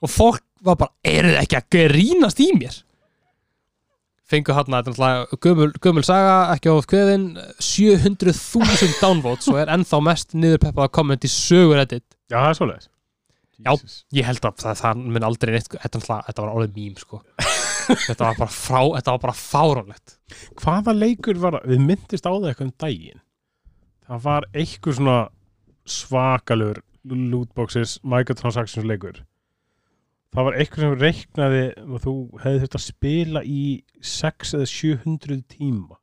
Speaker 1: og fólk var bara eru þið ekki að grínast í mér fengu hann að þetta er náttúrulega gömul, gömul saga, ekki of kveðin 700.000 downvotes og er ennþá mest niðurpeppaða komment í sögur reddit
Speaker 2: Já, það er svoleiðis
Speaker 1: Já.
Speaker 2: Jesus.
Speaker 1: Ég held að það, það mun aldrei neitt sko, Þetta, var alltaf- þetta var orðið mím sko Þetta var bara, frá, þetta var bara fáránlegt
Speaker 2: Hvaða leikur var það? Við myndist á það eitthvað um daginn Það var eitthvað svona svakalur lootboxes microtransactions leikur Það var eitthvað sem reiknaði og þú hefði þurft að spila í 6 eða 700 tíma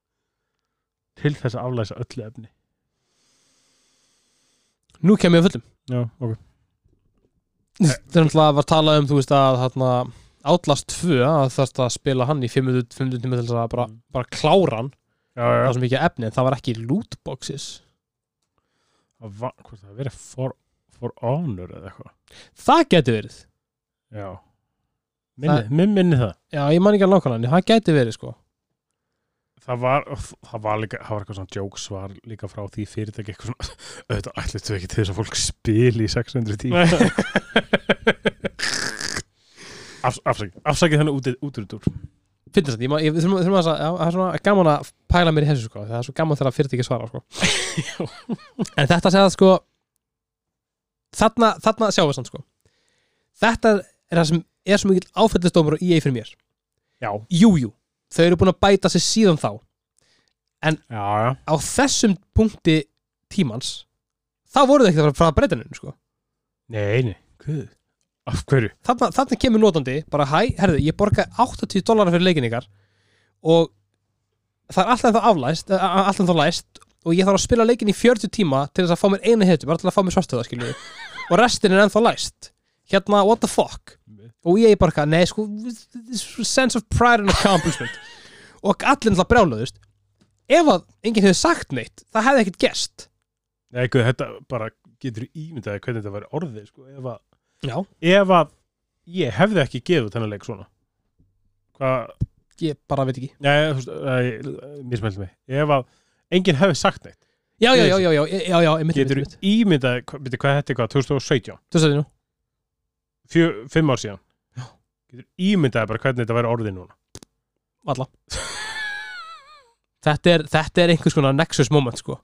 Speaker 2: til þess að aflæsa öllu efni
Speaker 1: Nú kem ég að fullum
Speaker 2: Já, ok
Speaker 1: Þetta er náttúrulega var talað um þú veist að þarna, Outlast 2 að þarst að spila hann í 500 500 tíma til þess að bara, bara klára hann
Speaker 2: Mm. Já, já,
Speaker 1: það sem ekki efni en það var ekki lootboxes
Speaker 2: Það var, hvort það verið for, for honor eða eitthvað
Speaker 1: Það geti verið
Speaker 2: Já Minni, minn minni það
Speaker 1: Já, ég man ekki alveg nákvæmlega en það geti verið sko
Speaker 2: það var, það var líka það var eitthvað svona jokes var líka frá því fyrirtæki eitthvað svona, [laughs] auðvitað ætlum við ekki til þess að fólk spili í 600 tíma Afs, afsakið, afsakið þennan út, út úr túr
Speaker 1: Finnst þetta, ég, man- ég, við þurfum, þurfum að, já, það er svona gaman að pæla mér í þessu sko, það er svo gaman þegar fyrirtæki svara sko. en þetta segja sko þarna, þarna sjáum við samt sko þetta er það sem er svo mikill áfellistómur og EA fyrir mér
Speaker 2: Já,
Speaker 1: jújú, jú, þau eru búin að bæta sig síðan þá
Speaker 2: já, já,
Speaker 1: á þessum punkti tímans þá voru þau ekkert að fara- fara að breyta hennu sko.
Speaker 2: nei, nei Guð. Af hverju?
Speaker 1: þarna, þarna kemur notandi bara hæ, herðu, ég borgaði 80 dólarar fyrir leikin ykkar og það er alltaf þá aflæst eh, alltaf þá læst og ég þarf að spila leikin í 40 tíma til þess að fá mér eina hetju, bara til að fá mér svartöða skilju og restin er ennþá læst hérna, what the fuck og ég bara, eitthvað, nei sko sense of pride and [laughs] accomplishment og allir náttúrulega brjálaðust ef að enginn hefði sagt neitt það hefði ekkert gerst
Speaker 2: Nei, Guð, þetta bara getur ímyndaði hvernig þetta væri orðið sko, ef, að,
Speaker 1: Já.
Speaker 2: ef að ég hefði ekki gefið þennan leik svona Hvað,
Speaker 1: ég bara veit ekki
Speaker 2: nei, þú veist, nei, mismældi mig Ef að enginn hefði sagt neitt
Speaker 1: já, já, já, já, já, já, já, einmitt,
Speaker 2: getur
Speaker 1: einmitt, einmitt.
Speaker 2: ímyndaði, hvað, byrju, hvað þetta er hvað, 2017
Speaker 1: Þú sagði nú.
Speaker 2: fjö, fimm ár síðan getur ímyndaði bara hvernig þetta væri orðið núna
Speaker 1: Valla þetta, er, þetta er einhvers konar nexus moment sko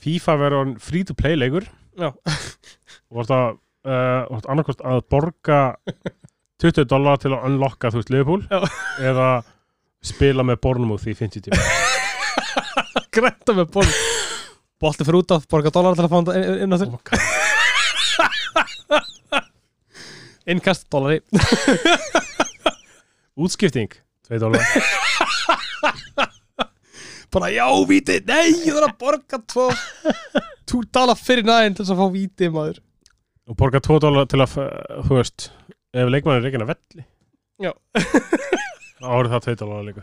Speaker 2: FIFA verður orðin free to play leikur
Speaker 1: Já. [laughs]
Speaker 2: og vart að uh, annarkost að [laughs] borga 20 dólar til að unlocka þú veist Liverpool
Speaker 1: Já.
Speaker 2: eða spila með Bournemouth í 50 tíma
Speaker 1: Grænta með ból Bolti fyrir út af, borga dólar til að fá hann inn- inn á þér [laughs] Innkast dólari
Speaker 2: útskipting 2 dólar
Speaker 1: Bara já, víti, nei, ég þarf að borga [laughs] tvo Tú dala fyrir næðin til þess að fá víti, maður
Speaker 2: og borga 2 dólar til að uh, þú veist ef leikmann er reikin að velli
Speaker 1: Já.
Speaker 2: þá árið það 2 dólar líka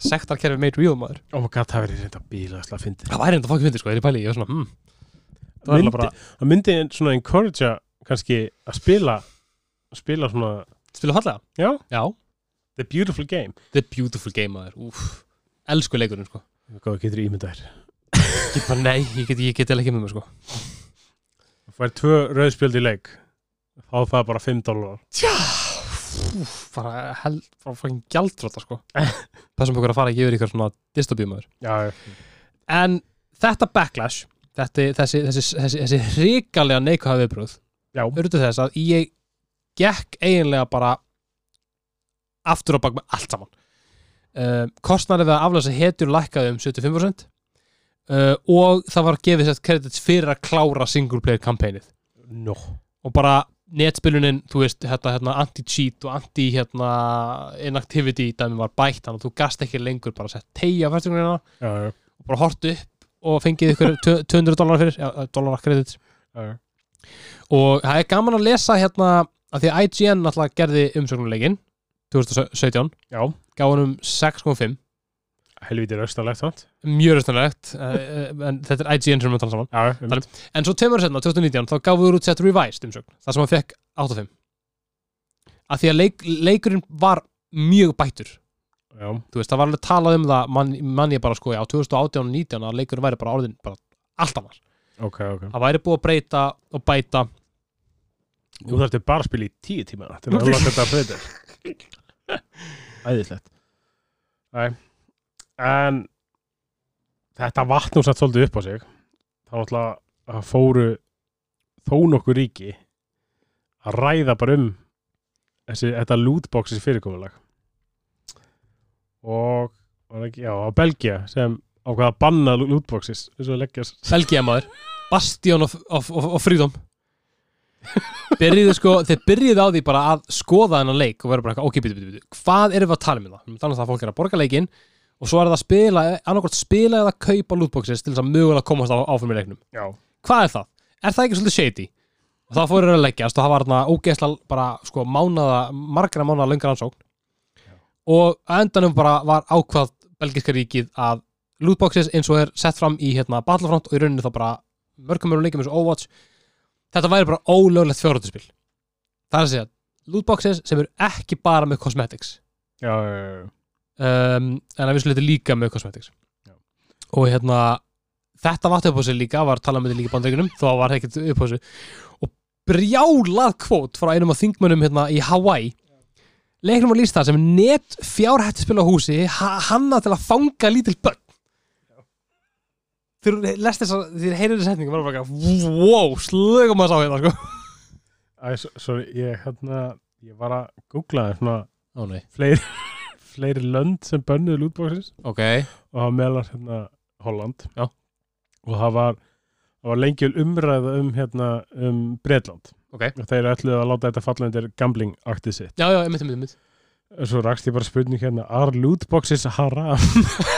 Speaker 1: Sektarkerfi made real, maður
Speaker 2: oh my god það verður þetta bílaslega að fyndi
Speaker 1: Það væri enda fokkið fyndi, sko, þegar ég pæli, ég var svona mm. Það var
Speaker 2: myndi,
Speaker 1: eiginlega bara
Speaker 2: það myndi svona encouragea kannski að spila að spila svona,
Speaker 1: Spila fallega
Speaker 2: já,
Speaker 1: Já,
Speaker 2: the beautiful game
Speaker 1: the beautiful game, maður Úf, elsku leikurinn, sko
Speaker 2: Góð, getur ímyndað þér
Speaker 1: Ég bara, nei, ég get, ég get eiginlega ekki með mér, sko.
Speaker 2: Þú fær tvö rauðspjöld í leik þá er það bara 5 dólar
Speaker 1: Tjá, úf, bara, hel, bara fucking gjaldrota, [laughs] sko. Passum okkur að fara ekki yfir ykkur svona dystopíumöður.
Speaker 2: Já,
Speaker 1: En þetta backlash, þetta, þessi, þessi, þessi, þessi hrikalega neikvæða viðbrúð,
Speaker 2: já,
Speaker 1: urðu þess að ég gekk eiginlega bara aftur á bak með allt saman. Uh, kostnari við að aflæsa hetur lækkaði um 75% uh, og það var gefið sett kredits fyrir að klára single player kampænið
Speaker 2: no
Speaker 1: og bara netspilunin, þú veist, hérna, hérna, anti-cheat og anti-inactivity hérna, dæmi var bætt, þannig að þú gast ekki lengur bara sett tegja fæstingunina
Speaker 2: já, já,
Speaker 1: og bara hort upp og fengið ykkur tvö- [laughs] 200 dólar fyrir, já, dólar kredit
Speaker 2: já.
Speaker 1: og það er gaman að lesa hérna, að því að IGN náttúrulega gerði umsögnulegin 2017,
Speaker 2: já.
Speaker 1: gaf honum 6,5
Speaker 2: helviti rauðstalegt sant
Speaker 1: mjög röstanlegt en þetta er IGN sem við tala saman
Speaker 2: já, um,
Speaker 1: Þannig- En svo tveimur setna, 2019, þá gafuður út sett revised umsögn, þar sem hann fekk 8.5 að því að leik, leikurinn var mjög bættur
Speaker 2: já,
Speaker 1: þú veist, það var alveg talað um það mann man ég bara sko, já, 2018 og 19 að leikurinn væri bara orðin, bara allt annar
Speaker 2: ok, ok
Speaker 1: það væri búið að breyta og bæta
Speaker 2: Nú þarftu bara að spila í tíu tíma til að loka þetta að breyta Æðislegt Nei En Þetta vatn hún satt svolítið upp á sig þá náttúrulega að fóru þó nokkur ríki að ræða bara um þessi, þetta lootboxis fyrirkomulag og var það ekki, já, á Belgia sem ákvað að banna lootboxis eins og leggja
Speaker 1: Belgia maður, Bastion of, of, of, of Freedom byrjuðu sko, þeir byrjuðu á því bara að skoða hennan leik og vera bara, eitthvað, ok, býtu, býtu, býtu hvað erum við að tala um það? Þannig að það að fólk er að borga leikinn og svo er það að spila, annarkort spila eða kaupa lootboxes til þess að mögulega komast á, áfram í leiknum.
Speaker 2: Já,
Speaker 1: Hvað er það? Er það ekki svolítið shady? Og það fóru að leggjast og það var þarna ógeðsla bara sko mánaða, margra mánaða löngar ansókn og að endanum bara var ákvað belgiska ríkið að lootboxes eins og er sett fram í hérna Battlefront og í rauninni þá bara mörgum mörgum leikum eins og Overwatch þetta væri bara ólöglegt fjórhundaspil það er að segja lootboxes sem eru ekki bara með cosmetics
Speaker 2: já, já, já,
Speaker 1: um, en að við sluti líka með cosmetics
Speaker 2: Já.
Speaker 1: og hérna þetta vatt upp á sig líka, var talað með þetta líka í bandreikunum þá var ekkert upp á sig og brjálað kvót frá einum af þingmönnum hérna í Hawaii leiknum var lýst það sem net fjárhættispil á húsi ha hanna til að fanga lítil börn þegar þú lest þess að þér heyrir þess setningum var bara eitthvað, wow, slögum að sá hérna sko.
Speaker 2: Æ, s- sorry, ég, hérna, ég var að googla þér svona
Speaker 1: Ó nei,
Speaker 2: fleiri, [laughs] fleiri lönd sem bönnuðu lootboxes
Speaker 1: ok
Speaker 2: og það var meðlar hérna Holland
Speaker 1: Já.
Speaker 2: og það var, það var lengi umræða um hérna um Breitland
Speaker 1: Ok.
Speaker 2: og þeir ætluðu að láta þetta falla undir gambling aktið sitt
Speaker 1: Já, já, einmitt, einmitt, einmitt
Speaker 2: og svo rakst ég bara spurning hérna are lootboxes haram? [laughs]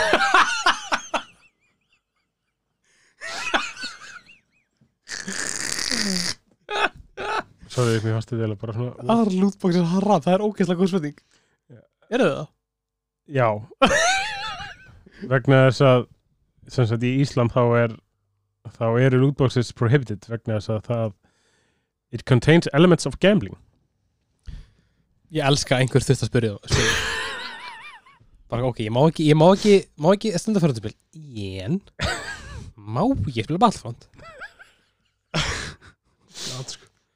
Speaker 2: Sorry, mér fannst þetta eiginlega bara svona
Speaker 1: Aðra lútbóksir harra, það er ógeðslega góð spurning Eru það?
Speaker 2: Já [laughs] vegna þess að sem sagt í Ísland þá er þá eru lootboxes prohibited vegna þess að það it contains elements of gambling
Speaker 1: Ég elska að einhver þurft að spyrja þú spyrja. Bara ok, ég má ekki Ég má ekki, má ekki stunda fjörðarspil En Má ég spila Battlefront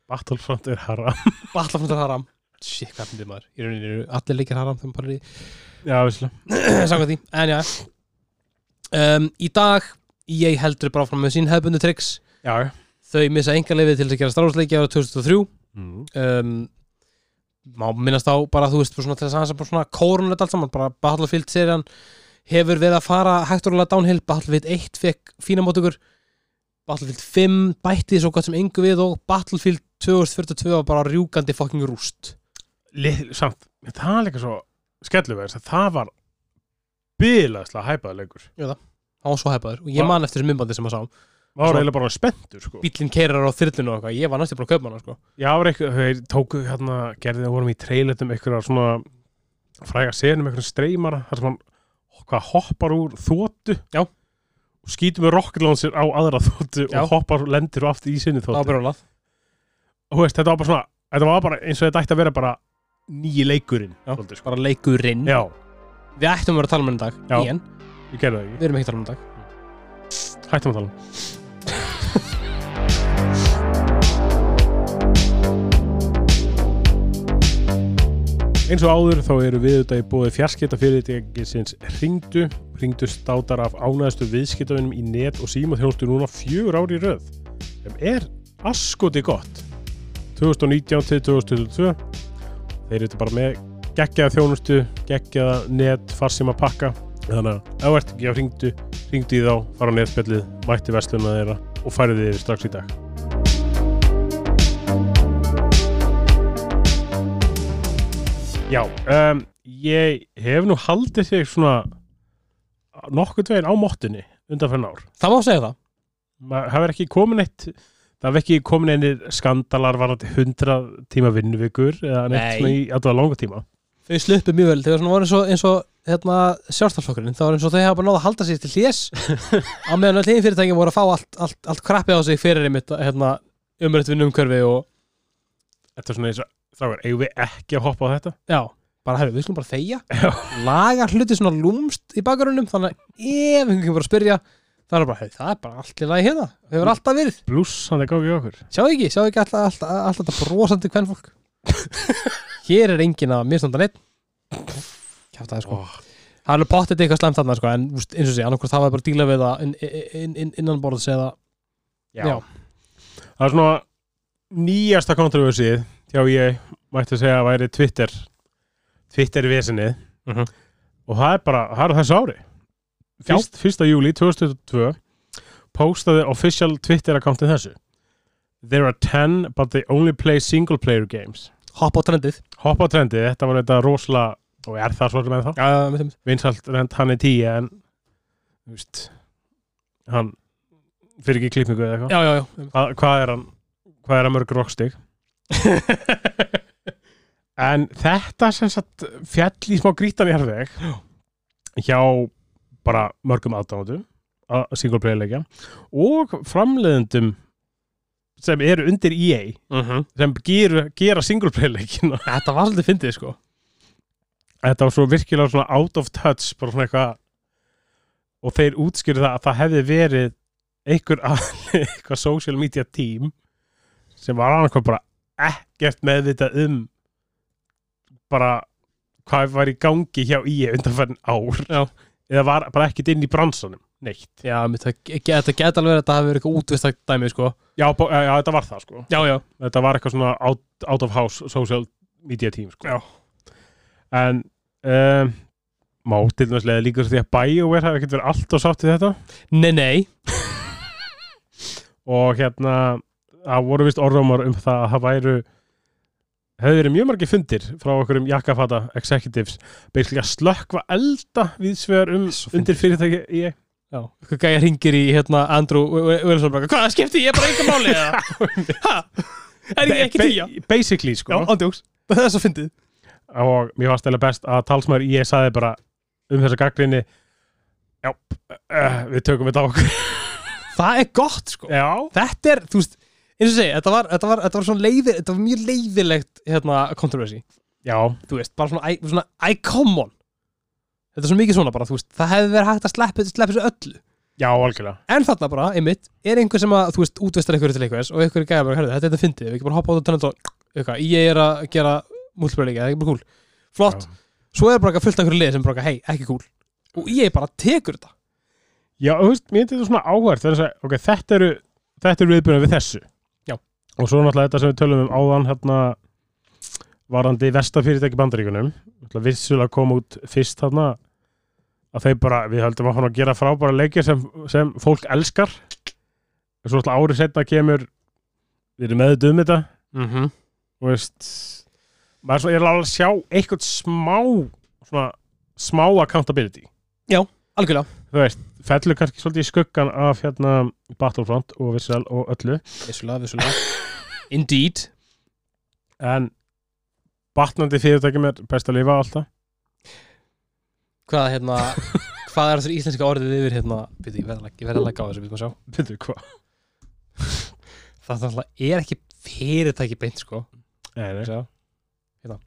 Speaker 2: Battlefront er haram
Speaker 1: Battlefront er haram Shit, hvað finnir maður Í rauninni eru allir leikir haram Þegar maður
Speaker 2: Já, visslega
Speaker 1: bara er [clears throat] Samkvæmt því En já um, Í dag Ég heldur bara áfram með sín hefbundu tricks
Speaker 2: Já
Speaker 1: Þau missa engalefið til þess að gera starfsleiki ára 2003
Speaker 2: mm.
Speaker 1: um, má minnast á bara þú veist bara svona, til þess að hans bara svona kórunlega allt saman bara Battlefield serían hefur verið að fara hægturulega downhill Battlefield 1 fekk fína mótugur Battlefield 5 bætti svo gott sem engu við og Battlefield 2042 var bara rjúkandi fucking rúst
Speaker 2: Lið, Samt, það er líka svo skellu vegna þess að það var bilaðslega hæpaða leikur
Speaker 1: á svo hepaður og ég
Speaker 2: Va-
Speaker 1: man eftir þessum myndbandi sem að sá
Speaker 2: Það var
Speaker 1: Svo-
Speaker 2: eiginlega bara spenntur sko
Speaker 1: bílinn keirar á þyrlinu og eitthvað ég var næstu búin að kaupa hana sko
Speaker 2: Já, það var eitthvað, þeir tóku hérna, gerði það vorum í treyletum eitthvað svona fræga senum eitthvað streymara, þar sem hann hvað, hoppar úr þóttu
Speaker 1: Já.
Speaker 2: og skýtur með rocket launcher á aðra þóttu
Speaker 1: Já.
Speaker 2: og hoppar, lendir og aftur í sinni
Speaker 1: það var
Speaker 2: þóttu
Speaker 1: brjólað
Speaker 2: og veist, þetta var bara svona, þetta var bara eins og þetta ætti að vera bara nýji leikurinn
Speaker 1: Já.
Speaker 2: svolítið, sko.
Speaker 1: bara leikurinn
Speaker 2: Já,
Speaker 1: við ættum að vera að tala um henni dag
Speaker 2: Já.
Speaker 1: en
Speaker 2: ég gerði það ekki
Speaker 1: við erum ekki að tala um henni dag
Speaker 2: hættum að tala [laughs] Eins og áður þá eru við auðvitað í bóði fjarskipta fyrirtækisins Ringdu. Ringdu státar af ánæðstu viðskiptavinnum í net og síma þjónustu núna fjögur ári í röð. Sem er askoti gott. 2019 til 2022. Þeir eru þetta bara með geggjaða þjónustu, geggjaða net, farsíma pakka. Þannig að ef þú ert ekki á Ringdu, Ringdu í þá, fara á netspjallið, mætti vestluna þeirra og færið þið yfir strax í dag. Já, um, ég hef nú haldið þig svona nokkuð veginn á móttunni undanfæðan ár.
Speaker 1: Það má segja það
Speaker 2: Maður hefur ekki komin eitt það hefur ekki komin einir skandalar varandi 100 tíma vinnuvikur eða neitt
Speaker 1: Nei.
Speaker 2: svona í alltaf langa tíma.
Speaker 1: Þau sluppu mjög vel, þau var svona voru eins og, eins og hérna, sjálfstaflokkurinn, það var eins og þau hafa bara náða að halda sér til hlés á meðan öll einn fyrirtækin voru að fá allt, allt, allt krappi á sig fyrir einmitt hérna, umrætt vinnum umhverfi og
Speaker 2: Þetta er svona eins og þrákar, eigum við ekki að hoppa á þetta?
Speaker 1: já, bara herru, við skulum bara þegja
Speaker 2: Já.
Speaker 1: laga hluti svona lúmst í bakarunum þannig að ef einhvern kemur að spyrja það er bara, hey, það er bara allt í lagi hérna við hefur alltaf verið,
Speaker 2: Blúss, hann er gáð í okkur.
Speaker 1: sjáðu ekki, sjáðu ekki alltaf, alltaf, alltaf þetta brosandi kvennfólk hér er engin að misnanda neitt kjáta það sko
Speaker 2: Oh.
Speaker 1: Það er alveg pottet eitthvað slæmt þarna sko, en úst, eins og sé, annarkvæmst það var bara að díla við það inn, inn, inn, innan borðs eða
Speaker 2: Já. Það er svona nýjasta kontroversið hjá ég mætti að segja að væri Twitter Twitter vesinni
Speaker 1: Mhm.
Speaker 2: og það er bara, það er á þessu ári Fyrst, fyrsta júli 2022 postaði official Twitter accountin þessu There are 10 but they only play single player games
Speaker 1: hoppa á trendið
Speaker 2: Hoppa á trendið, þetta var þetta rosalega og er það svolítið með það?
Speaker 1: uh, mitt, mitt.
Speaker 2: Vinsalt rend hann er 10 en þú veist hann fyrir ekki klippingu eða eitthvað
Speaker 1: Já, já, já einmitt.
Speaker 2: Hva, hvað er hann hvað er hann mörg rockstig en þetta sem sagt fjall í smá grítan í herðeg hjá bara mörgum aðdánandum að single player leikja og framleiðendum sem eru undir EA
Speaker 1: Mhm.
Speaker 2: sem gera, gera single player leikina
Speaker 1: Þetta var svolítið fyndið sko
Speaker 2: þetta var svo virkilega svona out of touch bara svona eitthvað og þeir útskýrðu það að það hefði verið einhver aðli, [laughs] eitthvað social media team sem var annarkoð bara ekkert meðvitað um bara hvað var í gangi hjá í undanferðin ár
Speaker 1: Já.
Speaker 2: eða var bara ekkert inn í bransanum neitt
Speaker 1: Já, mitt, það, ge- þetta geta alveg verið að þetta hafi verið eitthvað útvistagt dæmi sko
Speaker 2: já, bó- já, já, þetta var það sko
Speaker 1: Já, já
Speaker 2: þetta var eitthvað svona out, out of house social media team
Speaker 1: Já.
Speaker 2: sko. en um, má til dæmis leiða líka því að BioWare hafi ekkert verið allt og sátt í þetta
Speaker 1: Nei, nei
Speaker 2: og hérna það voru vist orðumar um það að það væru hefur verið mjög margir fundir frá okkur um jakkafata executives basically að slökkva elda viðsvegar um
Speaker 1: Svo fyndið.
Speaker 2: undir fyrirtæki í
Speaker 1: Já, eitthvað gæja ringir í hérna Andrew Wilson bara, hvað skipti ég bara enga máli [laughs] eða Ha? Er ég ekki tíja?
Speaker 2: Ba- basically
Speaker 1: Já,
Speaker 2: sko
Speaker 1: andjóks [laughs] Það er svo fyndið
Speaker 2: og mér var stæðilega best að talsmaður í ég saði bara um þessa gaggrinni já, uh, við tökum þetta á okkur
Speaker 1: Það er gott sko
Speaker 2: já,
Speaker 1: Þetta er, þú veist eins og segja, þetta var, þetta var, þetta var svona leiðir þetta var mjög leiðilegt hérna controversy
Speaker 2: já,
Speaker 1: þú veist, bara svona, æ- svona I come on þetta er svo mikið svona bara, þú veist, það hefði verið hægt að sleppa, sleppa þessu öllu,
Speaker 2: já, algjörlega
Speaker 1: en þarna bara, einmitt er einhver sem að, þú veist, útvistar einhverju til einhvers og einhverju gæða bara, herðu, þetta er þetta fyndið, við ekki bara hoppa út og tönna og, eitthvað, ég er að gera múlsbreyðleika, það er ekki bara cool, flott svo er bara eitthvað fullt af einhverju lið sem bara, hei, ekki cool og ég bara tekur þetta
Speaker 2: já, þú veist, mér finnst þetta svona áhært okay, þetta eru, þetta eru viðbjörnum við þessu
Speaker 1: Já.
Speaker 2: og svo náttúrulega þetta sem við tölum um áðan hérna varandi vestafyrirtæki bandaríkunum Náttúrulega vissulega kom út fyrst þarna að þeir bara, við höldum að hann að gera frábæra leikir sem, sem fólk elskar og svo náttúrulega árið setna kemur við erum meðut um þetta
Speaker 1: mm -hmm.
Speaker 2: þú veist maður er svo, ég er alveg að sjá eitthvað smá svona smá accountability
Speaker 1: algjörlega,
Speaker 2: þú veist, fellur kannski svolítið í skuggan af hérna Battlefront og Vissal og öllu
Speaker 1: vissulega, vissulega indeed,
Speaker 2: en batnandi fyrirtækjum er best að lifa alltaf
Speaker 1: hvað hérna hvað er þessar íslenska orðið yfir hérna, byrju, ég verð að- ég verð að leggja á þessu, byrju, maður sjá
Speaker 2: veitur hvað
Speaker 1: það náttúrulega er ekki fyrirtæki beint sko
Speaker 2: Nei, nei.
Speaker 1: Sjá. hérna.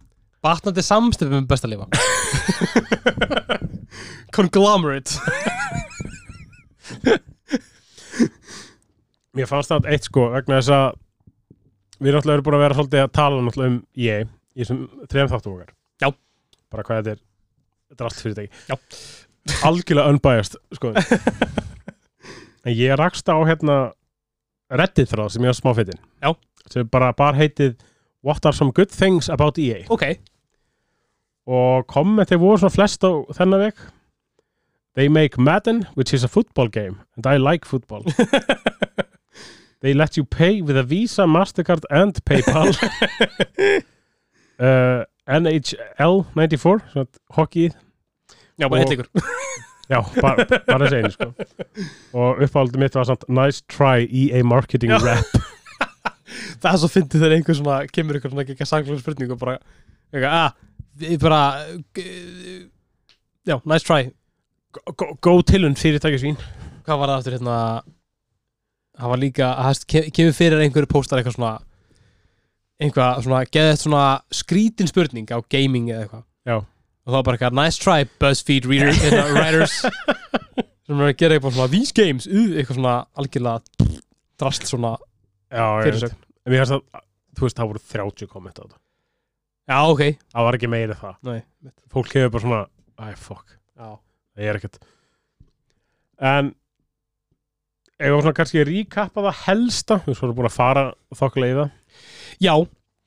Speaker 1: batnandi samstöfum um besta [laughs] lifa conglomerate
Speaker 2: Mér fannst það eitt sko vegna þess að við náttúrulega erum búin að vera svolítið að tala náttúrulega um EA í þessum þrejum þáttum okkar
Speaker 1: Já.
Speaker 2: Bara hvað þetta er þetta er allt fyrirtæki
Speaker 1: Já.
Speaker 2: Algjörlega unbiased
Speaker 1: [laughs]
Speaker 2: sko En ég rakst á hérna reddit þráð sem ég var smáfittin
Speaker 1: Já.
Speaker 2: sem bara bar heitið What are some good things about E EA
Speaker 1: ok,
Speaker 2: og kommenti voru svona flest á þennan veg They make Madden, which is a football game and I like [laughs] football They let you pay with a Visa, Mastercard and [laughs] Paypal uh, NHL 94 svona hockeyið
Speaker 1: já, bara
Speaker 2: Og-
Speaker 1: hitt ykkur
Speaker 2: Já, bara, bara þessi einu sko og uppáhaldið mitt var samt Nice try EA marketing
Speaker 1: Já.
Speaker 2: rap
Speaker 1: það er svo fyndið þegar einhver svona kemur ykkur svona ekki sanglega spurningu og bara, eitthvað, að, við bara eh, já, nice try
Speaker 2: Gó- gó- Góð tilun fyrirtækisvín
Speaker 1: hvað var það aftur hérna það var líka, það ke- kemur fyrir einhverju póstar eitthvað svona einhvað svona, geðið svona skrítin spurning á gaming eða eitthvað
Speaker 2: Já.
Speaker 1: og það var bara eitthvað, nice try BuzzFeed reader, hérna, writers sem er að gera eitthvað svona, these games uh, eitthvað svona algjörlega drast svona
Speaker 2: [laughs] Já, ég veit
Speaker 1: fyrirsögn
Speaker 2: En mér finnst að, þú veist, það voru 30 kommenta á þetta
Speaker 1: já, ok,
Speaker 2: Það var ekki meira en það
Speaker 1: nei
Speaker 2: Fólk hefur bara svona, æ, fuck
Speaker 1: já,
Speaker 2: Það er ekkert En Ef við svona kannski ríkappa það helsta Við svona búin að fara þokkulega í það
Speaker 1: já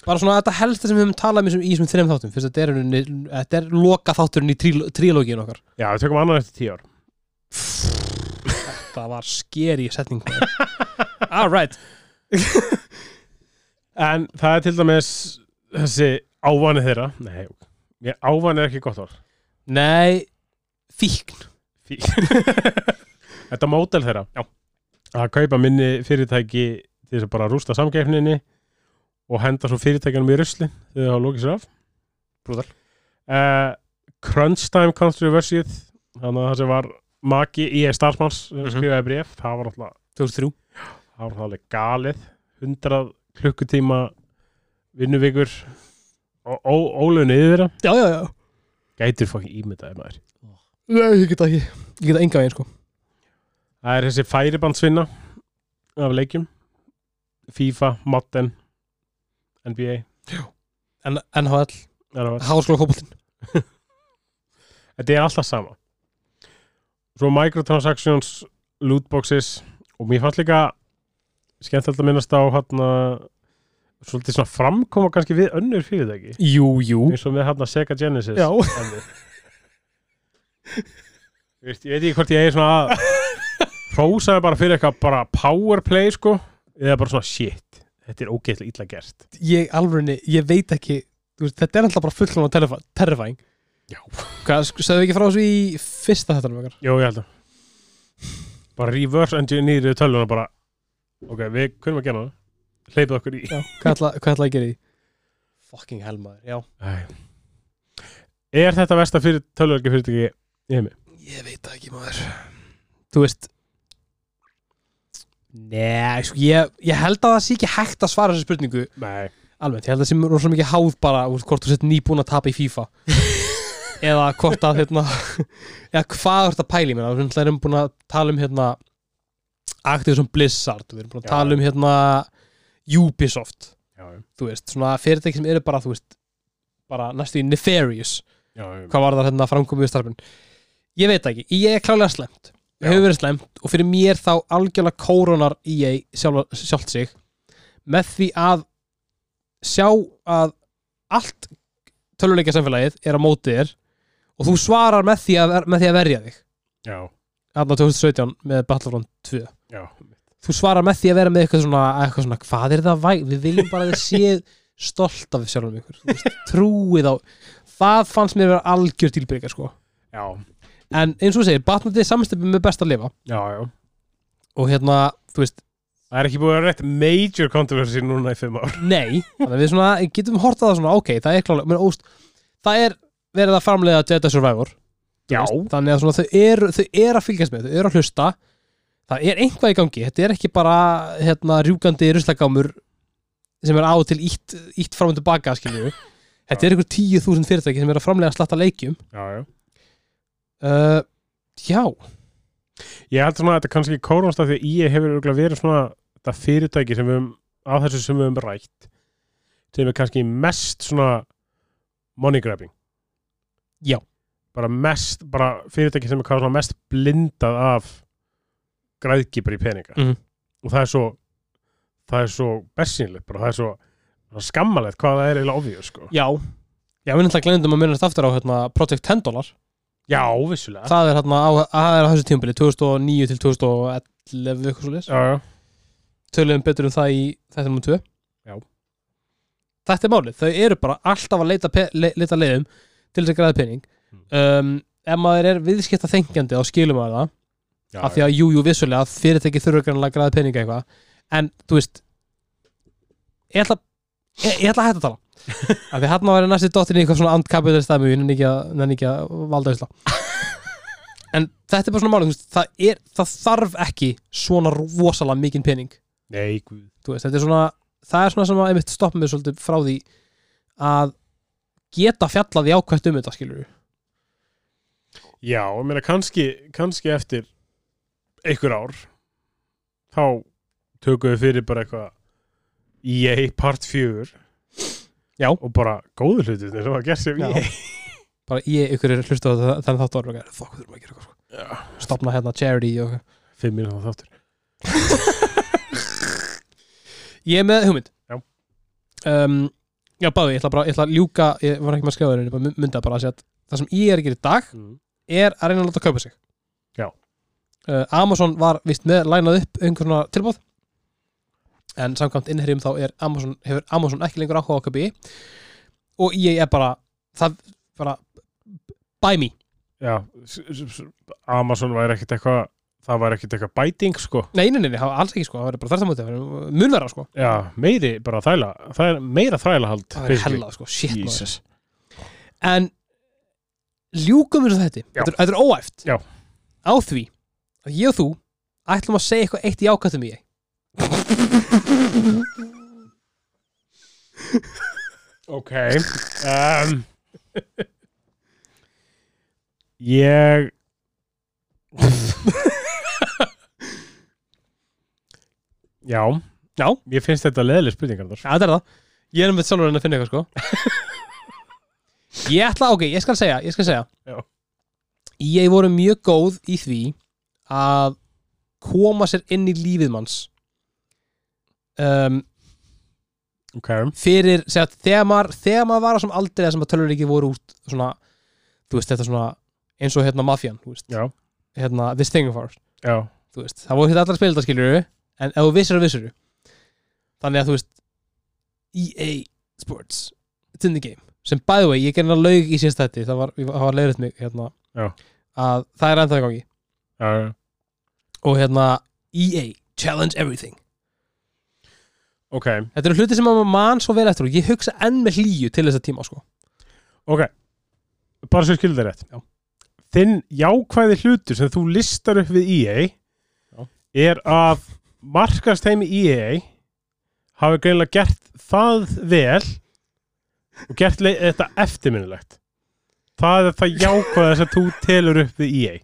Speaker 1: bara svona þetta helsta sem við höfum talað um í þessum- í þessum þreim þáttum fyrst að þetta er, í rauninni- þetta er loka þátturinn í trílógin okkar
Speaker 2: Já, við tökum annað eftir 10 ár
Speaker 1: Það var skeri setning [laughs] All right
Speaker 2: En það er til dæmis Þessi ávani þeirra Nei, ég, ávani er ekki gott orð
Speaker 1: Nei, fíkn
Speaker 2: Fí- [laughs] Þetta mótel þeirra Já. að kaupa minni fyrirtæki til þess að bara rústa samkeppninni og henda svo fyrirtækjanum í rusli þegar það hafa lokið sér af
Speaker 1: Brúðal.
Speaker 2: Eh, Crunch Time Controversið þannig að það sem var maki í starfsmanns mm
Speaker 1: Mhm.
Speaker 2: skrifaði bréf, það var alltaf
Speaker 1: 2003
Speaker 2: það var alveg galið 100 klukkutíma vinnuvikur og ólunni yfir það
Speaker 1: Já, já, já
Speaker 2: gætir fokkin ímyndaði maður
Speaker 1: Nei, ég geta ekki Ég geta enga veginn sko
Speaker 2: Það er þessi færibandsvinna af leikjum FIFA, Madden NBA
Speaker 1: En NHL,
Speaker 2: það er að-
Speaker 1: háskóla kópultin
Speaker 2: Þetta er alltaf sama Svo microtransactions lootboxes og mér fannst líka skemmtilegt að minnast á hana, svolítið svona framkoma kannski við önnur fyrirtæki
Speaker 1: Jú, jú
Speaker 2: eins og með hana Sega Genesis
Speaker 1: Já
Speaker 2: Alveg. Þú veist, ég veit ekki hvort ég eigi svona að hrósaði bara fyrir eitthvað bara powerplay sko eða bara svona shit, þetta er ógeðslega illa gert
Speaker 1: Ég alveg, ég veit ekki þú veist, Þetta er alltaf bara fullum á terrifying
Speaker 2: Já.
Speaker 1: Hvað, sk- sagði við ekki frá þessu í fyrsta þetta okkar?
Speaker 2: Jó, ég held að bara reverse engineer í tölvuna bara ok, við kunum að gera það hleypið okkur í
Speaker 1: Já Hvað ætla, hvað ætla að gera í? Fucking hell maður, já
Speaker 2: Æ. Er þetta versta fyrir tölvörki fyrirtæki í heimi?
Speaker 1: Ég veit það ekki maður Þú veist Nei, sko, ég, ég held að það sé ekki hægt að svara þessu spurningu
Speaker 2: Nei
Speaker 1: Almennt, ég held að það sé rosa mikið háð bara úr, hvort þú sett nýbúin að tapa í FIFA eða hvort að hérna, eða hvað er þetta pæli minna við erum búin að tala um hérna Activision Blizzard við erum búin að
Speaker 2: Já.
Speaker 1: tala um hérna Ubisoft,
Speaker 2: Já, já,
Speaker 1: þú veist, svona fyrirtæki sem eru bara, þú veist, bara næstu í nefarious
Speaker 2: já, já.
Speaker 1: hvað var það hérna framkomið starfin ég veit það ekki, ég er klálega slemt
Speaker 2: Já.
Speaker 1: hefur verið slemt og fyrir mér þá algjörlega kóronar EA sjálfa, sjálft sig með því að sjá að allt töluleika samfélagið er á móti þér og þú svarar með því að, ver- með því að verja þig
Speaker 2: já,
Speaker 1: aðna 2017 með Battlefront 2
Speaker 2: já.
Speaker 1: þú svarar með því að vera með eitthvað svona, eitthvað svona hvað er það væ, við viljum bara að þið séð stolt af sjálfum ykkur Þú veist, trúið á, það fannst mér vera algjör tilbyrga sko
Speaker 2: Já,
Speaker 1: en eins og þú segir, batnandi samstöpum með best að lifa
Speaker 2: já, já.
Speaker 1: og hérna, þú veist,
Speaker 2: Það er ekki búið að vera rétt major controversy núna í fimm ár
Speaker 1: nei þannig að við svona, getum hortað það svona, ok, það er klálega menn, óst, það er verið að framleiða Jedi Survivor, þú
Speaker 2: Já.
Speaker 1: veist, þannig að svona, þau, eru, þau eru að fylgjast með, þau eru að hlusta það er einhvað í gangi, þetta er ekki bara hérna, rjúkandi ruslagámur sem er á og til ítt, ítt fram og tilbaka, skiljum við þetta er einhver 10.000 fyrirtæki sem eru að framlega slatta leikjum
Speaker 2: Já, já
Speaker 1: uh, já
Speaker 2: Ég held svona að þetta kannski kórnast af því að EA hefur örugglega verið svona þetta fyrirtæki sem við höfum á þessu sem við höfum rætt sem er kannski mest svona money grabbing
Speaker 1: Já.
Speaker 2: bara mest, bara fyrirtæki sem er kannski svona mest blindað af græðki bara í peninga
Speaker 1: Mhm.
Speaker 2: og það er svo það er svo bessinlegt bara, það er svo það er skammalegt hvað það er eiginlega ofvíu sko.
Speaker 1: Já, já við náttúrulega glemdum að minnast aftur á hérna, Project 10 dólar
Speaker 2: Já, vissulega
Speaker 1: Það er hérna á, það er á þessu tímabili 2009 til 2011 eitthvað svo leis
Speaker 2: Já, já,
Speaker 1: Töluðum betur um það í þetta nummer 2
Speaker 2: Já.
Speaker 1: Þetta er málið, þau eru bara alltaf að leita, pe- le, leita leiðum til þess að græða pening
Speaker 2: Hmm.
Speaker 1: um, Ef maður er viðskipta þengjandi þá skilum maður það
Speaker 2: já,
Speaker 1: af því að jú, jú, vissulega, fyrirtæki þurfa grannlega að græða peninga eitthvað, en þú veist ég ætla ég, ég ætla að
Speaker 2: [laughs]
Speaker 1: hætta að tala af því hann var næstu dottin í eitthvað svona andkapitalist dæmi, ég nenni ekki að- nenni ekki að valda þessla
Speaker 2: [laughs]
Speaker 1: en þetta er bara svona málið, þú veist, það er það þarf ekki svona rosalega mikinn pening,
Speaker 2: Nei, guð
Speaker 1: þú veist, þetta er svona það er svona sem að einmitt stoppa mig svolítið frá því að geta fjallað í ákvæmt um þetta, skilur
Speaker 2: Já, ég meina kannski, kannski eftir einhver ár þá tökum við fyrir bara eitthvað EA part 4
Speaker 1: Já.
Speaker 2: og bara góðu hlutir sem að gera sem E
Speaker 1: Já.
Speaker 2: EA
Speaker 1: bara ég ykkur er hlustu á þannig þáttu orðum og fokk, þurfum að gera eitthvað, sko. stopna hérna charity og
Speaker 2: Fimm mínútur á þáttur
Speaker 1: Ég er með hugmynd
Speaker 2: Já.
Speaker 1: um, Já, báði, ég ætla bara ég ætla að ljúka, ég var ekki með að skrifa þér bara mynda bara að segja að það sem ég er að gera í dag
Speaker 2: mm.
Speaker 1: er að reyna að láta kaupa sig
Speaker 2: Já.
Speaker 1: uh, Amazon var vist með lænað upp einhver svona tilbúð en samkvæmt innherjum þá er Amazon, hefur Amazon ekki lengur áhuga á að kaupa í og ég er bara það bara buy me,
Speaker 2: Já, s- s- s- Amazon væri ekkit eitthvað það væri ekkit eitthvað bæting sko
Speaker 1: nei, nei, nei, nei, það var alls ekki sko það verður bara þartamóti, það verður munverða sko
Speaker 2: Já, meiri bara þæla það er meira þrælahald
Speaker 1: það er hella sko, shit maður.
Speaker 2: Jesus.
Speaker 1: en ljúkum við þetta
Speaker 2: Já.
Speaker 1: þetta er, þetta er óæft
Speaker 2: Já.
Speaker 1: á því að ég og þú ætlum að segja eitthvað eitt í E ákvæmtum í ég
Speaker 2: Ok um, Ég Já
Speaker 1: Já.
Speaker 2: Ég finnst þetta leðileg spurningar þar
Speaker 1: ja, þetta er það, ég er með sjálfur en að finna eitthvað sko ég ætla, ok, ég skal segja ég skal segja
Speaker 2: Já.
Speaker 1: ég voru mjög góð í því að koma sér inn í lífið manns um,
Speaker 2: Ok
Speaker 1: fyrir segja, þegar, maður, þegar maður var á sem aldrei sem að tölur ekki voru út svona, þú veist, þetta svona eins og hérna mafjan, þú veist
Speaker 2: Já.
Speaker 1: hérna, this thing of ours,
Speaker 2: Já
Speaker 1: þú veist það voru hérna allar spilita skiljur en ef þú vissir að vissir þannig að þú veist EA Sports, it's in the game sem by the way, ég gerði hérna laug í síðast þetta það var, ég var- það var leiðrætt mig hérna
Speaker 2: Já.
Speaker 1: að það er ennþá í gangi
Speaker 2: Já já.
Speaker 1: og hérna EA, challenge everything
Speaker 2: Ok
Speaker 1: þetta eru hluti sem að maður mann svo vel eftir og ég hugsa enn með hlýju til þess að tíma sko.
Speaker 2: Ok Bara svo skilur það rétt
Speaker 1: Já.
Speaker 2: Þinn jákvæði hlutur sem þú listar upp við EA
Speaker 1: Já.
Speaker 2: er að markast heimi EA hafi greinlega gert það vel og gert le- þetta eftirminnilegt Það er það jákvæði sem þú telur upp við E EA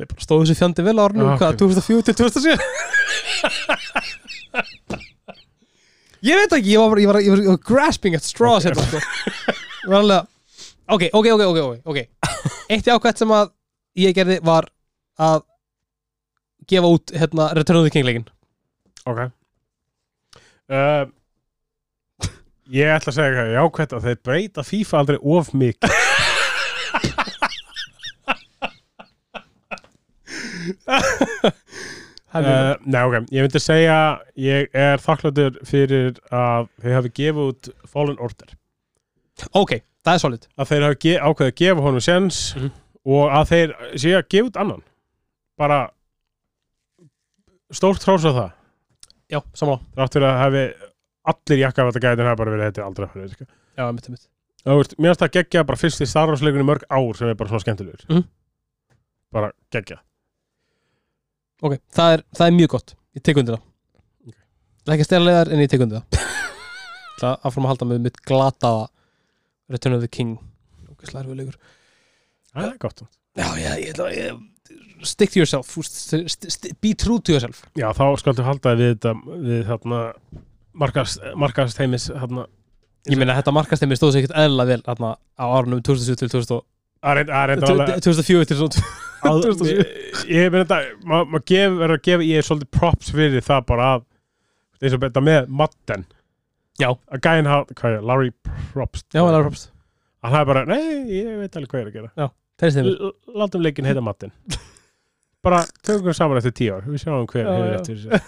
Speaker 1: Þeir bara stóðu sér fjandi vel á árinu
Speaker 2: Já,
Speaker 1: Hvað,
Speaker 2: Ah, ok.
Speaker 1: 2004 til 2007? ég veit ekki, ég var, bara- ég var, ég var, ég var grasping at straws
Speaker 2: Ok.
Speaker 1: hérna sko. Ég var alveg að- Ok, ok, ok, ok, ok, ok Eitt jákvæmt sem að ég gerði var að gefa út hérna Return of the King leikin
Speaker 2: Ok uh, Ég ætla að segja eitthvað jákvætt að þeir breyta FIFA aldrei of mikið
Speaker 1: uh, Eh,
Speaker 2: uh, Nei, ok, ég myndi segja ég er þakkláttur fyrir að þeir hafi gefið út Fallen Order
Speaker 1: Ok, það er solid
Speaker 2: að þeir hafi ge- ákveðið að gefa honum sens
Speaker 1: Mhm.
Speaker 2: og að þeir séu að gefa út annan bara stórt trós á það
Speaker 1: Já, samanlá
Speaker 2: þrátt fyrir að hafi allir jakka af þetta gætin hafa bara verið þetta er aldrei að fyrir
Speaker 1: Já, mitt, mitt
Speaker 2: Þú veist, mér finnst það geggja bara fyrst í Star Wars leikunni mörg ár sem er bara svona skemmtilegur
Speaker 1: Mhm.
Speaker 2: bara geggja
Speaker 1: Ok, það er, það er mjög gott Ég tek undir það
Speaker 2: Ok.
Speaker 1: Það er ekki að stela leiðar en ég tek undir [laughs] það Það áfram að halda með mitt glataða Return of the King Ógeðslega erfiður leikur.
Speaker 2: Það er gott
Speaker 1: Já, já, ég ætla ég, stick to yourself þú veist, st- st- st- be true to yourself
Speaker 2: Já, þá skaldu halda við þetta við þarna markast, markast heimis þarna
Speaker 1: ég meina þetta markast þeim stóð sér ekkert eðla vel þarna á árunum 2007 til 2000
Speaker 2: að reynda, að reynda alveg
Speaker 1: 2004 til 2000 [laughs]
Speaker 2: að,
Speaker 1: 2007.
Speaker 2: ég meina þetta maður ma gef, verður að gefa ég svolítið props fyrir það bara að eins og þetta með Madden
Speaker 1: Já.
Speaker 2: að gæðin hafa, hvað er, Larry Props
Speaker 1: já, hann er propst
Speaker 2: hann hafi bara, nei, ég veit alveg hvað ég er að gera
Speaker 1: þeir þeim
Speaker 2: L- l- látum leikin heita Madden bara tökum við saman eftir tíu ár við sjáum hver
Speaker 1: Já,
Speaker 2: hefur
Speaker 1: já.
Speaker 2: eftir þessu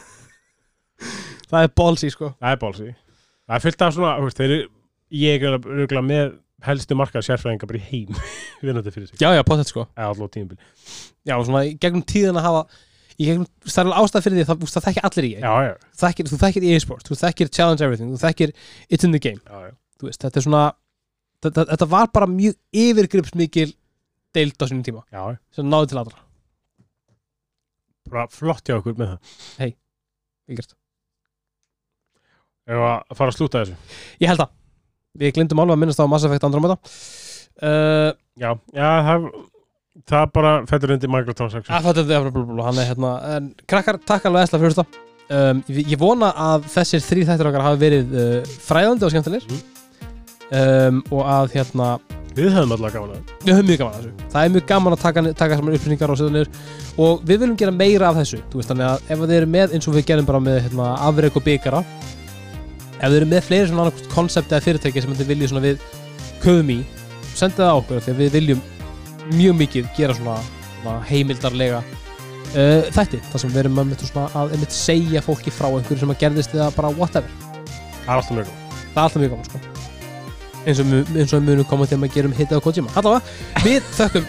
Speaker 1: það er ballsy sko
Speaker 2: það er bólsi það er fullt af svona þú veist, þeir, eru- ég er örugglega með helstu markað sérfræðinga bara í heim [laughs] vinnandi fyrir sig
Speaker 1: já, já, pottet sko
Speaker 2: eða allavega tímabil
Speaker 1: já, og svona í gegnum tíðan að hafa í gegnum, það er alveg ástæð fyrir því það, þú veist, það þekkir allir í
Speaker 2: já, já,
Speaker 1: þekkir, þú þekkir e-sport, þú þekkir challenge everything þú þekkir it's in the game
Speaker 2: já, já.
Speaker 1: þú veist, þetta er svona þetta, þetta var bara mjög yfirgripsmikil deild á sínum tíma
Speaker 2: já.
Speaker 1: sem náði til allra
Speaker 2: bara flott hjá okkur með það
Speaker 1: Ekkert.
Speaker 2: eða að fara að slúta þessu
Speaker 1: ég held það, við glindum alveg að minnast á Mass Effect Andromeda uh,
Speaker 2: já, já það, það bara fættur undir microtransaction
Speaker 1: að þetta er blablabla, hann er hérna en krakkar, takk alveg eðsla fyrir þetta um, ég, ég vona að þessir þrý þættir okkar hafi verið uh, fræðandi og skemmtilegir um, og að hérna
Speaker 2: við höfum alltaf gaman að
Speaker 1: við höfum mjög gaman að þessu það er mjög gaman að taka, taka saman upplýsingar og setja niður og við viljum gera meira af þessu þú veist þannig að ef þið eru með eins og við gerum bara með hérna, afreik og byggara ef þið eru með fleiri svona annarkost konsept eða fyrirtæki sem þið viljið svona við köfum í senda það á okkur því að við viljum mjög mikið gera svona, svona heimildarlega uh, þætti þar sem við erum einmitt svona að einmitt segja fólki frá einhverju sem að gerðist eða bara whatever
Speaker 2: það er alltaf mjög gaman
Speaker 1: það er alltaf mjög gaman sko eins og, mu- eins og við munum koma til að gerum hitta um á Kojima allavega, við þökkum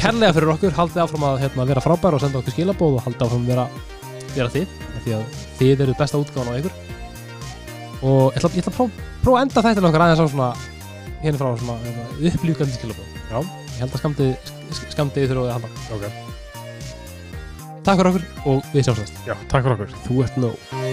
Speaker 1: kærlega fyrir okkur, haldið áfram að hérna, vera frábær og senda okkur skilabóð og haldið áfram að vera, vera þið, af því að þið eru besta útgáðan á ykkur og ég ætla, ég ætla að prófa próf að enda þættin okkar aðeins á svona hérna frá svona hérna, upplýkandi skilabóð
Speaker 2: Já.
Speaker 1: ég held að skamdið skamdið þurfa að halda
Speaker 2: Ok.
Speaker 1: takk fyrir okkur og við sjáum svo
Speaker 2: já, takk fyrir okkur, þú ert nóg